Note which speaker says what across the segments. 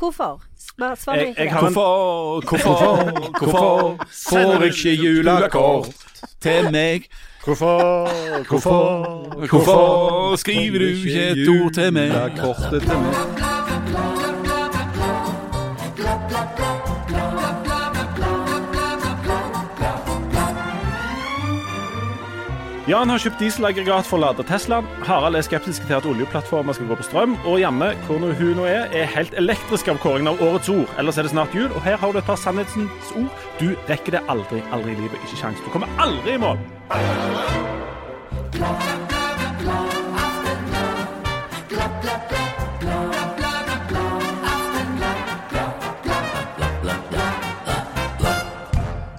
Speaker 1: Hvorfor? Svar, svar
Speaker 2: Jeg-
Speaker 1: meg
Speaker 2: jeg
Speaker 1: ikke
Speaker 2: har
Speaker 1: det.
Speaker 2: en-
Speaker 3: Hvorfor, hvorfor, hvorfor får ikke julekort til meg?
Speaker 2: Hvorfor?
Speaker 3: Hvorfor skriver du ikke et ord til meg?
Speaker 2: Kortet til meg. Jan har kjøpt dieselaggregat for å lade Teslaen. Harald er skeptisk til at oljeplattformer skal gå på strøm. Og Janne, hvor nå hun nå er, er helt elektrisk av kåringen av årets ord. Ellers er det snart jul, og her har du et par sannhetens ord. Du rekker det aldri, aldri i livet. Ikke sjans. Du kommer aldri i mål.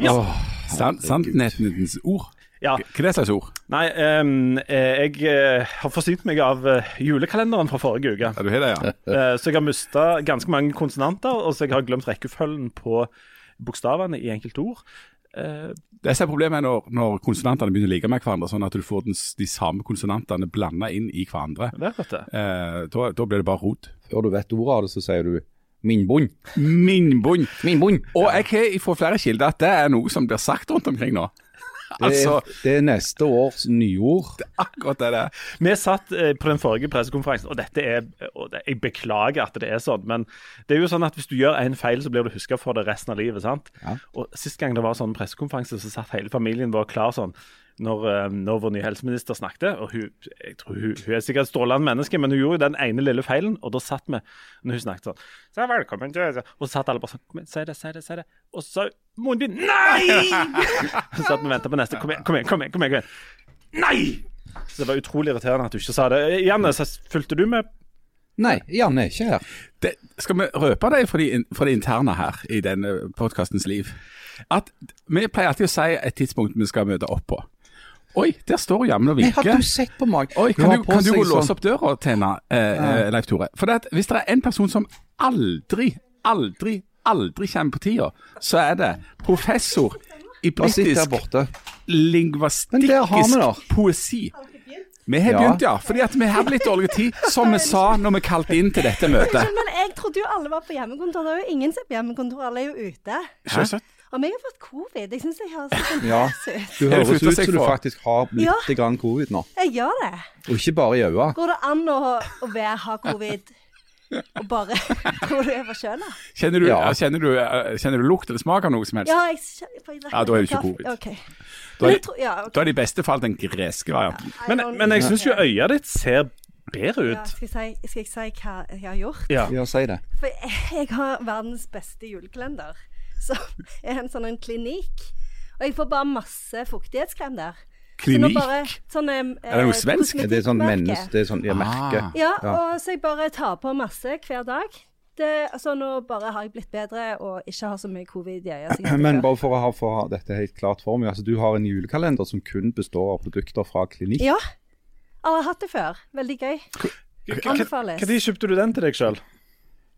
Speaker 3: Åh, san- Sannhetens ord?
Speaker 2: Ja.
Speaker 3: Hva er det slags ord?
Speaker 2: Nei, ehm, eh, jeg eh, har forsynt meg av eh, julekalenderen fra forrige uke.
Speaker 3: Ja, du har det, ja?
Speaker 2: Eh, så jeg har mista ganske mange konsonanter, og så jeg har glemt rekkefølgen på bokstavene i enkelte ord. Eh,
Speaker 3: Det som er problemet er når, når konsonantene begynner å ligge med hverandre, sånn at du får den, s- de samme konsonantene blanda inn i hverandre.
Speaker 2: der, vet du.
Speaker 3: Eh, da, da blir det bare rot.
Speaker 4: Før du vet ordet av det, så sier du min bunn.
Speaker 3: Minnbunn.
Speaker 4: Min bunn.
Speaker 3: Og jeg har fra flere kilder at det er noe som blir sagt rundt omkring nå.
Speaker 4: Det,
Speaker 3: Altså,
Speaker 4: er, det er neste års nyord.
Speaker 3: akkurat det der.
Speaker 2: Vi satt eh, på den forrige pressekonferansen, og dette er og det, Jeg beklager at det er sånn, men det er jo sånn at hvis du gjør en feil, så blir du huska for det resten av livet. sant?
Speaker 4: Ja.
Speaker 2: Og Sist gang det var sånn pressekonferanse, så satt hele familien vår klar sånn. Når, eh, når vår nye helseminister snakket, og hun, jeg tror hun, hun er sikkert et strålende menneske, men hun gjorde jo den ene lille feilen, og da satt vi når hun snakket sånn så velkommen til Og så satt alle bare sånn Kom igjen, si det, si det, si det. Og så munnbind. Nei! Så satt vi og venta på neste. Kom igjen, kom igjen, kom igjen. kom igjen, kom igjen. Nei! Så det var utrolig irriterende at du ikke sa det. Eh, Janne, så fulgte du med?
Speaker 4: Nei, Jan er ikke her.
Speaker 3: Det, skal vi røpe det for de, in- for de interne her i denne podkastens liv? At Vi pleier alltid å si et tidspunkt vi skal møte opp på. Oi, der står jammen og
Speaker 4: Nei, har
Speaker 3: vinker.
Speaker 4: du sett på meg?
Speaker 3: Oi,
Speaker 4: Hun
Speaker 3: kan
Speaker 4: har
Speaker 3: du,
Speaker 4: på
Speaker 3: kan du
Speaker 4: seg
Speaker 3: gå og låse
Speaker 4: sånn-
Speaker 3: opp døra til henne, eh, eh, Leif Tore? For det at hvis det er en person som aldri, aldri, aldri kommer på tida, så er det professor i
Speaker 4: Bare sitt der
Speaker 3: britisk
Speaker 4: borte. Men der har vi det.
Speaker 3: lingvastikkisk poesi. Vi har
Speaker 4: Ja.
Speaker 3: begynt, ja. Fordi at vi har litt dårlig tid, som vi sa når vi kalte inn til dette møtet.
Speaker 1: Men jeg trodde jo alle var på hjemmekontor. Det er jo ingen som er på hjemmekontor, alle er jo ute.
Speaker 3: Sjøsøtt.
Speaker 1: Om jeg har fått covid? Jeg syns jeg høres litt sånn
Speaker 4: Ja.
Speaker 1: pass ut.
Speaker 4: Du
Speaker 3: Er det
Speaker 4: høres
Speaker 3: flyttet
Speaker 4: ut
Speaker 3: seg
Speaker 4: som du
Speaker 3: fra?
Speaker 4: faktisk har litt
Speaker 1: Ja.
Speaker 4: grann covid nå.
Speaker 1: Jeg gjør det.
Speaker 4: Og ikke bare i øynene.
Speaker 1: Går det an å, å være, ha covid og bare gå det over sjøl, da?
Speaker 3: Kjenner du,
Speaker 4: Ja.
Speaker 3: kjenner, du, eh, kjenner du lukt eller smak av noe som helst?
Speaker 1: Ja, jeg skjønner for jeg drakk
Speaker 3: Ja, da er det
Speaker 1: litt
Speaker 3: ikke
Speaker 1: kaffe.
Speaker 3: covid.
Speaker 1: Ok.
Speaker 3: Da er-
Speaker 1: Men jeg tror- ja, ok.
Speaker 3: Da er det i beste fall den greske varianten.
Speaker 2: Men,
Speaker 1: I don't-
Speaker 2: men jeg syns jo øya ditt ser bedre
Speaker 1: ja,
Speaker 2: ut.
Speaker 1: skal, jeg si, skal jeg si hva jeg har gjort?
Speaker 2: Ja.
Speaker 4: Ja, si det.
Speaker 1: For jeg, jeg har verdens beste julekalender, som er en sånn en klinikk. Og jeg får bare masse fuktighetskrem der. Så nå
Speaker 3: Klinikk?
Speaker 1: bare sånn, em,
Speaker 3: Er det noe
Speaker 1: eh,
Speaker 3: svensk?
Speaker 4: Det er sånn
Speaker 1: kosmetikkmerke.
Speaker 4: menneske, det er sånn ja, merke.
Speaker 3: Ah.
Speaker 1: Ja,
Speaker 4: Ja.
Speaker 1: og så jeg bare tar på masse hver dag. Det, altså nå bare har jeg blitt bedre og ikke har så mye covid. Jeg, jeg, jeg,
Speaker 4: Men bare for å ha, for å ha dette helt klart for meg, altså du har en julekalender som kun består av produkter fra klinikk.
Speaker 1: Ja. Aldri hatt det før. Veldig gøy. Anbefales.
Speaker 2: Når kjøpte du den til deg sjøl?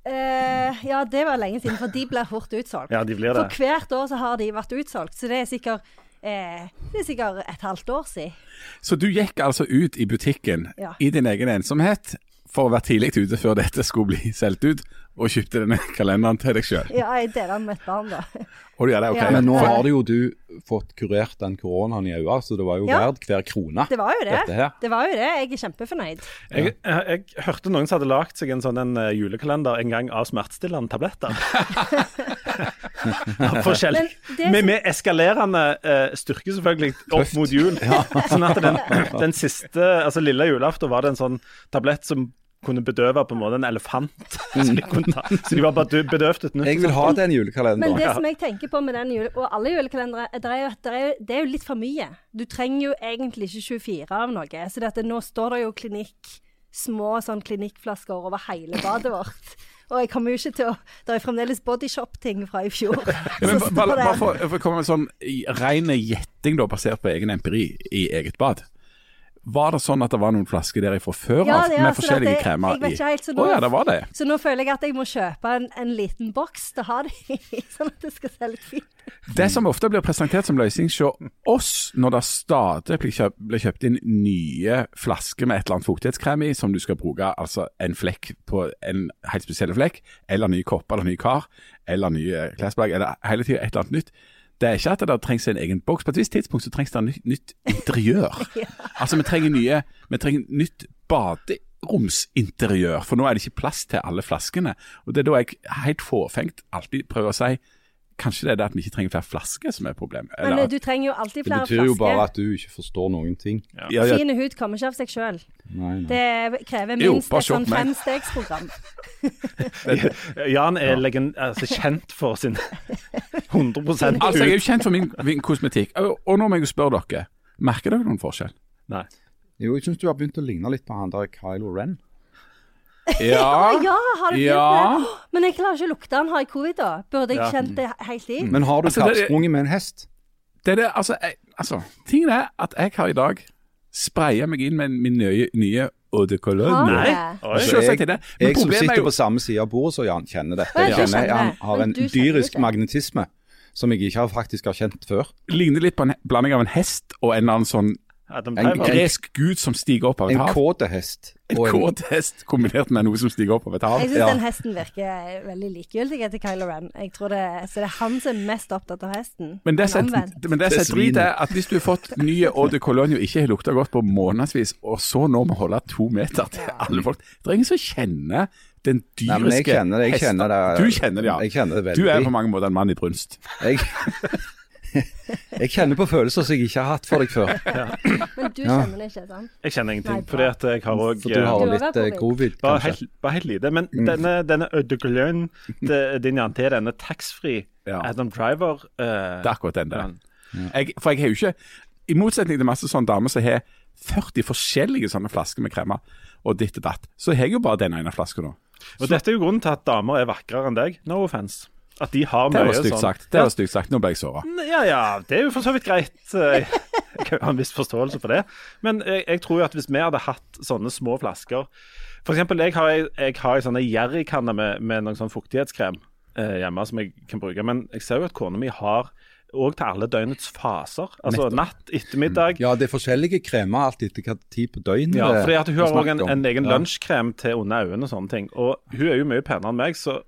Speaker 1: Eh, ja, det var lenge siden, for de blir fort utsolgt.
Speaker 2: Ja, de blir det.
Speaker 1: For hvert år så har de vært utsolgt, så det er sikkert, eh, det er sikkert et halvt år siden.
Speaker 3: Så du gikk altså ut i butikken
Speaker 1: Ja.
Speaker 3: i din egen ensomhet for å være tidlig ute før dette skulle bli solgt ut, og kjøpte denne kalenderen til deg sjøl.
Speaker 1: Ja, jeg deler den med et barn, da.
Speaker 3: Og du gjør det, ok.
Speaker 1: Ja.
Speaker 4: Men nå
Speaker 1: For-
Speaker 4: har det jo du fått kurert den koronaen i øynene, så det var jo
Speaker 1: Ja.
Speaker 4: verdt hver krone.
Speaker 1: Det var jo
Speaker 4: Dette
Speaker 1: det.
Speaker 4: her.
Speaker 1: Det var jo det. Jeg er kjempefornøyd.
Speaker 2: Jeg, jeg, jeg hørte noen som hadde lagd seg en sånn en eh, julekalender en gang av smertestillende tabletter. Av Forskjellig.
Speaker 1: Men det-
Speaker 2: Med, med eskalerende eh, styrke, selvfølgelig, opp mot jul. Sånn at den, den siste, altså lille julaften, var det en sånn tablett som kunne bedøve på en måte en elefant. Så de, kunne ta, så de var bare dø- bedøvd et nytt.
Speaker 4: Jeg vil ha den
Speaker 1: Men
Speaker 4: julekalenderen.
Speaker 1: det som jeg tenker på med den jule, og alle julekalendere, det er, jo, at det, er, jo- det er jo litt for mye. Du trenger jo egentlig ikke 24 av noe. Så det at det, nå står det jo klinikk, små sånn klinikkflasker over hele badet vårt. Og jeg kommer jo ikke til å Det er fremdeles bodyshop-ting fra i fjor.
Speaker 3: Ja, men
Speaker 1: Så
Speaker 3: ba-
Speaker 1: står
Speaker 3: bare,
Speaker 1: det-
Speaker 3: bare for, for å komme med en sånn i- ren gjetting, da, basert på egen empiri i eget bad. Var det sånn at det var noen flasker der fra før
Speaker 1: Ja,
Speaker 3: av,
Speaker 1: det er
Speaker 3: med
Speaker 1: altså
Speaker 3: forskjellige
Speaker 1: det at jeg-
Speaker 3: kremer
Speaker 1: jeg vet ikke helt, så
Speaker 3: i? Å
Speaker 1: da-
Speaker 3: ja, det var det.
Speaker 1: Så nå føler jeg at jeg må kjøpe en, en liten boks til å ha det i, sånn at det skal se litt fint ut.
Speaker 3: Det som ofte blir presentert som løsning hos oss, når det stadig blir kjøpt, blir kjøpt inn nye flasker med et eller annet fuktighetskrem i, som du skal bruke altså en flekk på en helt spesiell flekk, eller ny kopp eller ny kar, eller nye klesplagg, eller hele tida et eller annet nytt. Det er ikke at det trengs en egen boks. På et visst tidspunkt så trengs det nytt, nytt interiør. Altså, vi trenger, nye, vi trenger nytt baderomsinteriør, for nå er det ikke plass til alle flaskene. Og Det er da jeg helt fåfengt alltid prøver å si Kanskje det er det at vi ikke trenger flere flasker som er problemet.
Speaker 1: Men
Speaker 3: Eller-
Speaker 1: eh, du trenger jo alltid
Speaker 4: Det
Speaker 1: flere
Speaker 4: betyr jo bare
Speaker 1: flasker.
Speaker 4: at du ikke forstår noen ting.
Speaker 3: ja, ja,
Speaker 1: Fin hud kommer ikke av seg sjøl.
Speaker 4: Nei, nei.
Speaker 1: Det krever
Speaker 3: Jo,
Speaker 1: minst
Speaker 3: bare
Speaker 1: et sånn
Speaker 3: se på meg.
Speaker 1: femstegsprogram.
Speaker 2: Jan er legen, altså, kjent for sin 100
Speaker 3: altså, jeg
Speaker 2: ut.
Speaker 3: er jo kjent for min, min kosmetikk, og, og nå må jeg jo spørre dere. Merker dere noen forskjell?
Speaker 2: Nei.
Speaker 4: Jo, jeg syns du har begynt å ligne litt på han der Kylo Ren.
Speaker 3: Ja,
Speaker 1: Eh, Ja, har du begynt
Speaker 3: Ah, Ja.
Speaker 1: med det? Men jeg klarer ikke å lukte den. Har jeg covid, da? Burde jeg kjent det he- helt i?
Speaker 4: Men har du
Speaker 3: Altså, det-
Speaker 4: kappsprunget med en hest?
Speaker 3: det er det, altså, jeg, altså Tingen er at jeg har i dag spraya meg inn med min nye, nye eau de
Speaker 1: Har
Speaker 3: cologne.
Speaker 1: du
Speaker 2: Nei.
Speaker 1: det?
Speaker 2: Oi.
Speaker 3: Så- Selvsagt er det. Men
Speaker 4: jeg som
Speaker 3: problemet er
Speaker 4: sitter
Speaker 3: jo-
Speaker 4: på samme side av bordet som Jan, kjenner dette.
Speaker 1: Ja,
Speaker 4: Jeg
Speaker 1: du
Speaker 4: kjenner
Speaker 1: skjønner
Speaker 4: han
Speaker 1: det.
Speaker 4: har
Speaker 1: Men
Speaker 4: en
Speaker 1: du skjønner
Speaker 4: dyrisk
Speaker 1: det.
Speaker 4: magnetisme som jeg ikke har faktisk har kjent før.
Speaker 3: Ligner litt på en he- blanding av en hest og en eller annen sånn
Speaker 2: Adam
Speaker 4: En
Speaker 2: Driver.
Speaker 4: grei-
Speaker 3: gresk gud som stiger opp av et
Speaker 4: En
Speaker 3: hav.
Speaker 4: kåt hest.
Speaker 3: En
Speaker 4: og en-
Speaker 3: kåt hest kombinert med noe som stiger opp av et
Speaker 1: Jeg
Speaker 3: hav.
Speaker 1: syns
Speaker 4: Ja.
Speaker 1: den hesten virker veldig likegyldig til Kylo Ren. Jeg tror det, så det er han som er mest opptatt av hesten.
Speaker 3: Men det som
Speaker 1: omvendt.
Speaker 3: men det som er
Speaker 4: Det
Speaker 3: drit, er
Speaker 4: svinet.
Speaker 3: at hvis du har fått nye eau de cologne og ikke har lukta godt på månedsvis, og så nå må holde to meter til alle folk Det er ingen som kjenner den
Speaker 4: Nei, men jeg
Speaker 3: dyriske
Speaker 4: kjenner det. Jeg
Speaker 3: hesten.
Speaker 4: kjenner det.
Speaker 3: Du kjenner det, ja.
Speaker 4: Jeg kjenner det veldig.
Speaker 3: Du er på mange måter en mann i brunst.
Speaker 4: Jeg, jeg kjenner på følelser som jeg ikke har hatt for deg før.
Speaker 1: Men du kjenner det ikke, sant?
Speaker 2: Jeg kjenner
Speaker 1: Nei,
Speaker 2: ingenting,
Speaker 1: bra.
Speaker 2: fordi at jeg har òg
Speaker 4: For du har
Speaker 1: Du har
Speaker 4: litt
Speaker 1: vært på
Speaker 4: eh,
Speaker 1: vei.
Speaker 4: covid,
Speaker 2: bare
Speaker 4: kanskje.
Speaker 2: helt, bare helt lite. Men
Speaker 3: Mm.
Speaker 2: denne, denne Ødegløn, din Jan, det er denne taxfree
Speaker 3: Ja.
Speaker 2: Adam Driver eh,
Speaker 3: Det er akkurat den der.
Speaker 2: Men-
Speaker 3: Jeg, for jeg har jo ikke I motsetning til masse sånne damer som har 40 forskjellige sånne flasker med kremer og ditt og datt, så har jeg jo bare den ene flaska nå.
Speaker 2: Og dette er jo grunnen til at damer er vakrere enn deg. No offense. At de har
Speaker 3: Det
Speaker 2: mye
Speaker 3: var stygt
Speaker 2: sånn-
Speaker 3: sagt. Det var stygt sagt. Nå ble jeg såra.
Speaker 2: Ja, ja, ja, det er jo for så vidt greit. Jeg kan jo ha en viss forståelse for det. Men jeg, jeg tror jo at hvis vi hadde hatt sånne små flasker For eksempel, jeg har, jeg har sånne jerrykanner med, med noen sånn fuktighetskrem eh, hjemme som jeg kan bruke. Men jeg ser jo at kona mi har òg til alle døgnets faser. Altså natt, ettermiddag.
Speaker 4: Ja, det er forskjellige kremer alt etter hva tid på døgnet
Speaker 2: Ja,
Speaker 4: det
Speaker 2: fordi at hun
Speaker 4: er
Speaker 2: har
Speaker 4: snakk
Speaker 2: òg en,
Speaker 4: om.
Speaker 2: en egen
Speaker 4: Ja.
Speaker 2: lunsjkrem til under øynene og sånne ting. Og hun er jo mye penere enn meg, så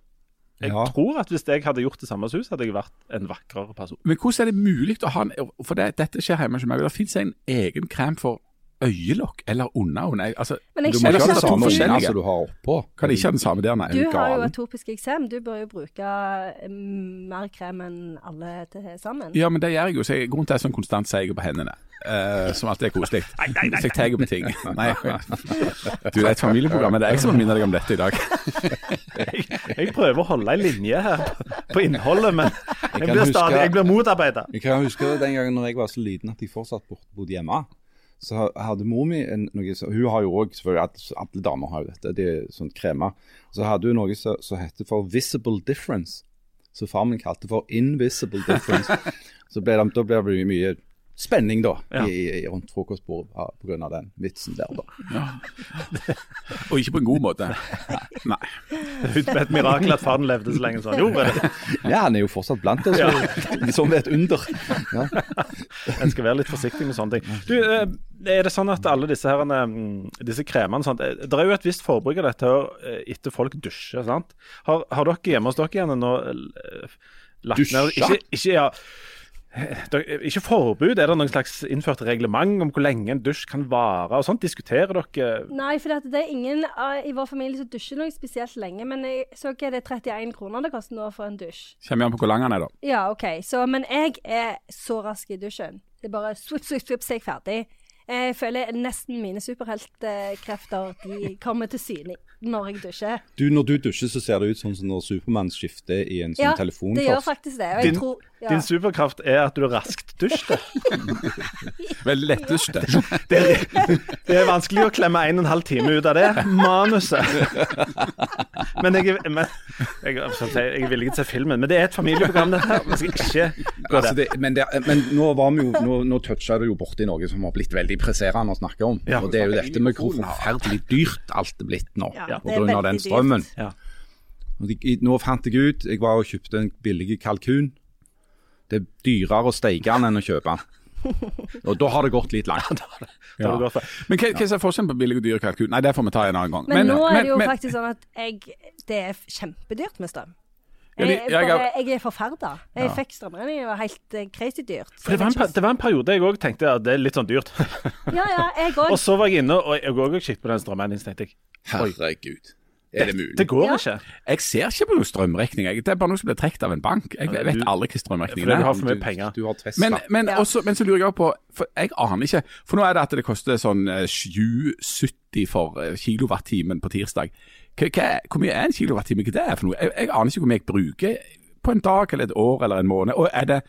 Speaker 2: jeg
Speaker 4: Ja.
Speaker 2: tror at hvis jeg hadde gjort det samme som hun, så hadde jeg vært en vakrere person.
Speaker 3: Men hvordan er det mulig å ha en For det, dette skjer hjemme hos meg. Det fins en egen krem for øyelokk eller underøyne. Altså,
Speaker 1: Men jeg
Speaker 4: Du må
Speaker 1: skjønner
Speaker 3: Eller
Speaker 4: ikke ha
Speaker 1: ikke
Speaker 3: så to
Speaker 4: den
Speaker 1: at
Speaker 4: samme
Speaker 1: du
Speaker 3: forskjellige.
Speaker 4: øynene som Altså, du har oppå.
Speaker 3: kan ikke ha den samme der, nei.
Speaker 1: Du har jo
Speaker 3: Galen.
Speaker 1: atopisk eksem. Du bør jo bruke mm, mer krem enn alle til sammen.
Speaker 3: Ja, men det gjør jeg jo. Så jeg, grunnen til at jeg er sånn konstant seier på hendene. eh, som alltid er koselig. Hvis jeg tar på ting. Nei. Du, det er et familieprogram, men det er jeg som må minne deg om dette i dag.
Speaker 2: Jeg, jeg prøver å holde ei linje her på, på innholdet, men jeg
Speaker 4: kan
Speaker 2: blir
Speaker 4: huske-
Speaker 2: stadig jeg blir motarbeida.
Speaker 4: Jeg kan huske den gangen når jeg var så liten at jeg fortsatt bort- bodde hjemme. Så hadde mor mi en, noe som Hun har jo òg selvfølgelig at- Alle damer har jo dette. Det er sånn kremer. Så hadde hun noe som som heter for visible difference. Som far min kalte for invisible difference. Så ble det, da ble det mye spenning, da,
Speaker 2: Ja.
Speaker 4: i, i, rundt frokostbordet ja, pga. den vitsen der, da.
Speaker 3: Og ikke på en god måte. Nei.
Speaker 2: Det er et mirakel at faren levde så lenge som han gjorde. det.
Speaker 4: Ja, han er jo fortsatt blant oss, som et under. Ja.
Speaker 2: En skal være litt forsiktig med sånne ting. Du, eh, er det sånn at alle disse, her, mm, disse kremene sånt, eh, Det er jo et visst forbruk av dette her, eh, etter folk dusjer, sant? Har, har dere hjemme hos dere igjen nå eh, lagt ned
Speaker 4: Dusja?
Speaker 2: ikke, ikke, ja, eh, dere- ikke forbud, er det noen slags innført reglement om hvor lenge en dusj kan vare og sånt? Diskuterer dere
Speaker 1: Nei, for det er ingen av- i vår familie som dusjer noe spesielt lenge. Men jeg så ikke det er 31 kroner det koster nå for en dusj.
Speaker 3: Kommer an på hvor lang han er, da.
Speaker 1: Ja, OK. Så, men jeg er så rask i dusjen. Det er bare swipp, swipp, swipp, så er jeg ferdig. Jeg føler nesten mine superheltkrefter de kommer til syne når jeg dusjer.
Speaker 4: Du, Når du dusjer, så ser det ut sånn som når Supermann skifter i en sånn
Speaker 1: Ja, det gjør
Speaker 4: telefonkiosk.
Speaker 1: faktisk det. Og jeg
Speaker 2: Din,
Speaker 1: tror ja.
Speaker 2: din superkraft er at du er raskt dusjer?
Speaker 3: Veldig lettest.
Speaker 2: Det er, det er vanskelig å klemme en og en halv time ut av det manuset. Men jeg, er- men, jeg, er- som sagt, jeg er villig til å se filmen, men det er et familieprogram, dette. her. Vi skal ikke gå
Speaker 4: Altså
Speaker 2: der.
Speaker 4: det, men, det, men nå var vi jo Nå, nå toucha det jo borti noe som har blitt veldig veldig presserende å snakke om.
Speaker 2: Ja.
Speaker 4: Og det er jo dette med hvor forferdelig dyrt alt er blitt nå
Speaker 1: Ja, det er
Speaker 4: pga.
Speaker 1: veldig
Speaker 4: den
Speaker 1: dyrt.
Speaker 4: strømmen.
Speaker 2: Ja.
Speaker 4: Og de- i- Nå fant jeg ut Jeg var og kjøpte en billig kalkun. Det er dyrere å steike den enn å kjøpe den. Og da har det gått litt langt.
Speaker 2: Det har du godt for.
Speaker 3: Men hva, hva er forskjellen på billig og dyr kalkun? Nei, det får vi ta en annen gang.
Speaker 1: Men, nå er det jo
Speaker 3: men-
Speaker 1: faktisk sånn at jeg, det er kjempedyrt med strøm.
Speaker 3: Ja,
Speaker 1: Jeg,
Speaker 3: de-
Speaker 1: jeg,
Speaker 3: jeg har-
Speaker 1: bare, jeg er forferda. Jeg fikk strømregning, det var helt eh, crazy dyrt.
Speaker 2: For det var, en, per- det var en periode jeg òg tenkte at det er litt sånn dyrt.
Speaker 1: Ja, ja, jeg òg.
Speaker 2: Og så var jeg inne og jeg òg kikket på den strømregningen, så tenkte jeg
Speaker 4: Herregud, er det mulig?
Speaker 2: det går
Speaker 1: Ja.
Speaker 2: ikke.
Speaker 3: Jeg ser ikke på noen strømregning. jeg. Det er bare noe som blir trukket av en bank. Jeg
Speaker 2: Ja,
Speaker 3: vet
Speaker 2: du-
Speaker 3: aldri hva
Speaker 2: Fordi
Speaker 3: strømregningen
Speaker 2: du
Speaker 3: er.
Speaker 2: har for mye penger.
Speaker 4: Du har Tesla.
Speaker 3: Men, men,
Speaker 1: Ja.
Speaker 3: også, men så lurer jeg på For jeg aner ikke. For nå er det at det koster sånn eh, 7,70 for eh, kilowattimen på tirsdag. Hva, hva, hvor mye er en kilowattime? Hva det er for noe? Jeg, jeg aner ikke hvor mye jeg bruker på en dag eller et år eller en måned. Og er det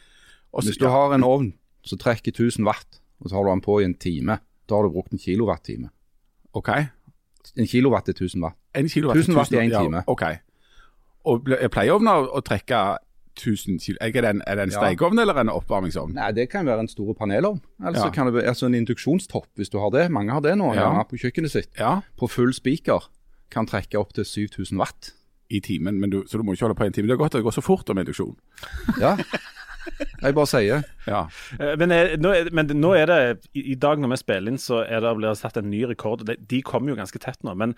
Speaker 3: også,
Speaker 4: Hvis du har en ovn som trekker 1000 watt, og så har du den på i en time, da har du brukt en kilowattime.
Speaker 3: OK.
Speaker 4: En kilowatt er 1000 watt.
Speaker 3: En kilowatt
Speaker 4: 1000 watt i en
Speaker 3: ja,
Speaker 4: time.
Speaker 3: OK. Og ble- jeg pleier ovner å trekke 1000 kilo... Er det en, er det en
Speaker 4: Ja.
Speaker 3: stekeovn eller en oppvarmingsovn?
Speaker 4: Nei, det kan være en stor panelovn. Eller så
Speaker 3: Ja.
Speaker 4: kan det være altså en induksjonstopp, hvis du har det. Mange har det nå,
Speaker 3: Ja.
Speaker 4: gjerne på kjøkkenet sitt.
Speaker 3: Ja,
Speaker 4: På full spiker kan trekke opp til 7000 watt.
Speaker 3: i timen, men du, så du må ikke holde på en time. Det er godt at det går så fort om induksjon.
Speaker 4: Ja. Jeg bare sier.
Speaker 3: Ja.
Speaker 2: Eh, Men, eh, nå, er- men nå er det I i dag når vi spiller inn, så er det blir det satt en ny rekord. De, de kommer jo ganske tett nå. Men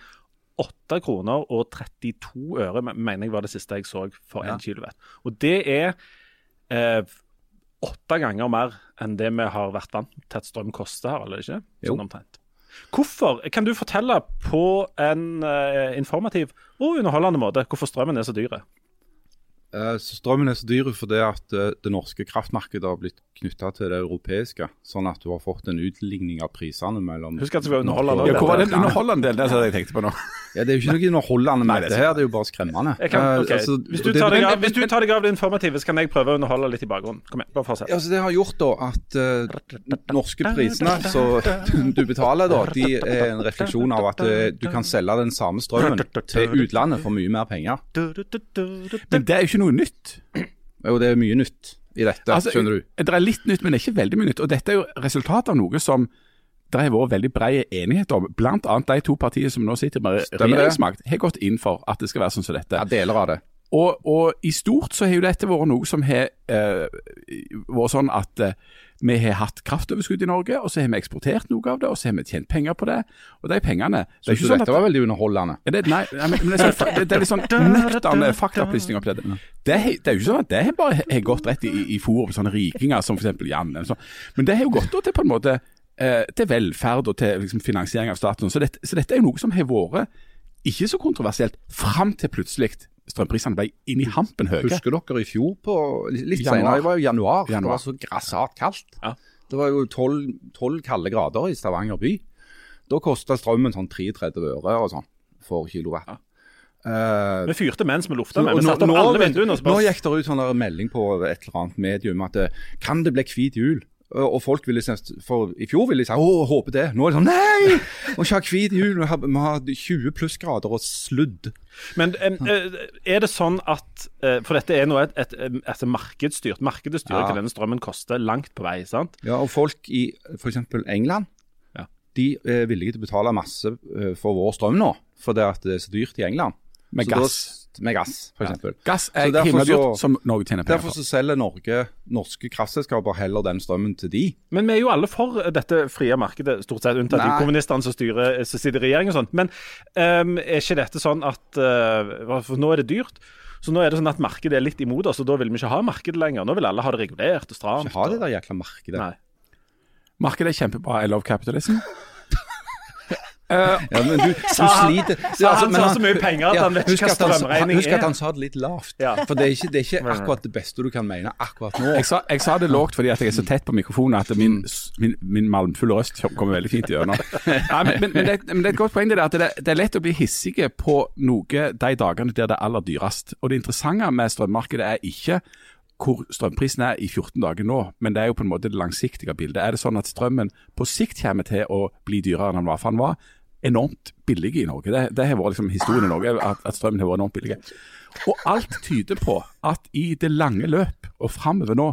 Speaker 2: 8 kroner og 32 øre me- mener jeg var det siste jeg så for
Speaker 4: Ja.
Speaker 2: 1 kilowatt. Og det er eh, åtte ganger mer enn det vi har vært vant til at strøm koster her, eller ikke?
Speaker 4: Jo.
Speaker 2: Sånn omtrent. Hvorfor, Kan du fortelle på en eh, informativ og underholdende måte hvorfor strømmen er så dyr?
Speaker 4: Eh, så strømmen er så dyr fordi at eh, det norske kraftmarkedet har blitt knytta til det europeiske. Sånn at du har fått en utligning av prisene mellom
Speaker 2: Husk at det var underholdende.
Speaker 3: Ja, hvor var den underholdende delen? Det er det jeg tenkte på nå.
Speaker 4: Ja, Det er jo ikke noe underholdende med
Speaker 3: Nei, det
Speaker 4: dette
Speaker 3: er
Speaker 4: her, det er jo bare skremmende.
Speaker 2: Jeg kan,
Speaker 4: Eh,
Speaker 2: ok.
Speaker 4: altså,
Speaker 2: hvis,
Speaker 4: og
Speaker 2: du
Speaker 4: det-
Speaker 2: tar deg
Speaker 4: men-
Speaker 2: av, hvis du tar deg av det informative, så kan jeg prøve å underholde litt i bakgrunnen. Kom igjen, bare fortsett.
Speaker 4: Altså, det har gjort da at eh, norske prisene som du- du betaler, da, de er en refleksjon av at eh, du kan selge den samme strømmen til utlandet for mye mer penger.
Speaker 3: Men det er jo ikke noe nytt.
Speaker 4: Og det er mye nytt i dette,
Speaker 3: Altså,
Speaker 4: skjønner du.
Speaker 3: Det er litt nytt, men det er ikke veldig mye nytt. Og dette er jo resultatet av noe som det har vært veldig bred enighet om. Blant annet de to partiene som nå sitter med
Speaker 4: Stemmer det.
Speaker 3: regjeringsmakt, har gått inn for at det skal være sånn som dette.
Speaker 4: Ja, deler av det.
Speaker 3: Og, og i stort så har jo dette vært noe som har eh, vært sånn at eh, vi har hatt kraftoverskudd i Norge, og så har vi eksportert noe av det, og så har vi tjent penger på det. Og de pengene det er
Speaker 4: Syns
Speaker 3: ikke
Speaker 4: du
Speaker 3: sånn
Speaker 4: dette
Speaker 3: at,
Speaker 4: var veldig underholdende?
Speaker 3: Ja, det, nei, nei, men, men det, er sånn, det, det er litt sånn nøkterne faktaopplysninger oppi dette. Det, har- det er jo ikke sånn at det har bare har gått rett i, i forum, sånne rikinger som f.eks. Jan. eller Sånn. Men det har jo gått da til på en måte eh, til velferd og til liksom, finansiering av staten. Så, dette- så dette er jo noe som har vært ikke så kontroversielt fram til plutselig strømprisene ble inn i hampen høye.
Speaker 4: Husker dere i fjor på Litt
Speaker 3: Januar.
Speaker 4: senere, det var jo januar. Det
Speaker 3: Januar.
Speaker 4: var så grassat kaldt.
Speaker 2: Ja.
Speaker 4: Det var jo tolv tolv kalde grader i Stavanger by. Da kosta strømmen sånn 33 øre og sånn for kilowatt. Eh,
Speaker 2: Vi fyrte mens vi lufta,
Speaker 4: Og
Speaker 2: men vi satte opp
Speaker 4: nå,
Speaker 2: alle
Speaker 4: vet du,
Speaker 2: vinduene. og så
Speaker 4: nå
Speaker 2: bare-
Speaker 4: gikk det ut sånn der melding på et eller annet medium at eh, kan det bli hvit jul? Og og folk ville si, for i fjor ville de si å, håper det. Nå er det sånn nei! Vi må ikke ha hvit jul. Vi har, vi har 20 plussgrader og sludd.
Speaker 2: Men em, eh, er det sånn at eh, For dette er nå et, et, em, altså markedsstyrt. Markedet styrer
Speaker 4: Ja.
Speaker 2: hva denne strømmen koster, langt på vei. sant?
Speaker 4: Ja, og folk i f.eks. England,
Speaker 2: Ja.
Speaker 4: de er villige til å betale masse eh, for vår strøm nå. For det, at det er så dyrt i England.
Speaker 3: Med
Speaker 4: Så da-
Speaker 3: gass.
Speaker 4: med gass, for eksempel.
Speaker 3: Gass
Speaker 4: Så
Speaker 3: er
Speaker 4: derfor
Speaker 3: himla
Speaker 4: så-
Speaker 3: dyrt, som Norge tjener penger
Speaker 4: Derfor
Speaker 3: på.
Speaker 4: så selger Norge norske kraftselskaper heller den strømmen til de.
Speaker 2: Men vi er jo alle for eh, dette frie markedet, stort sett, unntatt de
Speaker 4: Nei.
Speaker 2: kommunistene som, styrer, som sitter i regjering og sånn. Men em, er ikke dette sånn at eh, For nå er det dyrt. Så nå er det sånn at markedet er litt imot oss, og da vil vi ikke ha markedet lenger. Nå vil alle ha det regulert og stramt.
Speaker 4: Ikke ha det
Speaker 2: og-
Speaker 4: der jækla markedet.
Speaker 2: Nei.
Speaker 3: Markedet er kjempebra. I love capitalism.
Speaker 4: Ja, men du, du sliter altså,
Speaker 2: sa han altså så så mye penger at han vet ikke hva
Speaker 4: husk at han-
Speaker 2: strømregning
Speaker 4: Husk at
Speaker 2: er.
Speaker 4: han sa det litt lavt.
Speaker 2: Ja.
Speaker 4: For det er, ikke, det er ikke akkurat det beste du kan mene akkurat nå.
Speaker 3: Jeg sa, jeg sa det lågt fordi at jeg er så tett på mikrofonen at min, min, min malmfulle røst kommer veldig fint gjennom. Nei, men, men, men, det, men det er et godt poeng det der at det, det er lett å bli hissige på noe de dagene der det er aller dyrest. Og det interessante med strømmarkedet er ikke hvor strømprisen er i 14 dager nå, men det er jo på en måte det langsiktige bildet. Er det sånn at strømmen på sikt kommer til å bli dyrere enn den var? For den var enormt billig i Norge. Det, det har vært liksom historien i Norge, at, at strømmen har vært enormt billig. Og alt tyder på at i det lange løp og framover nå,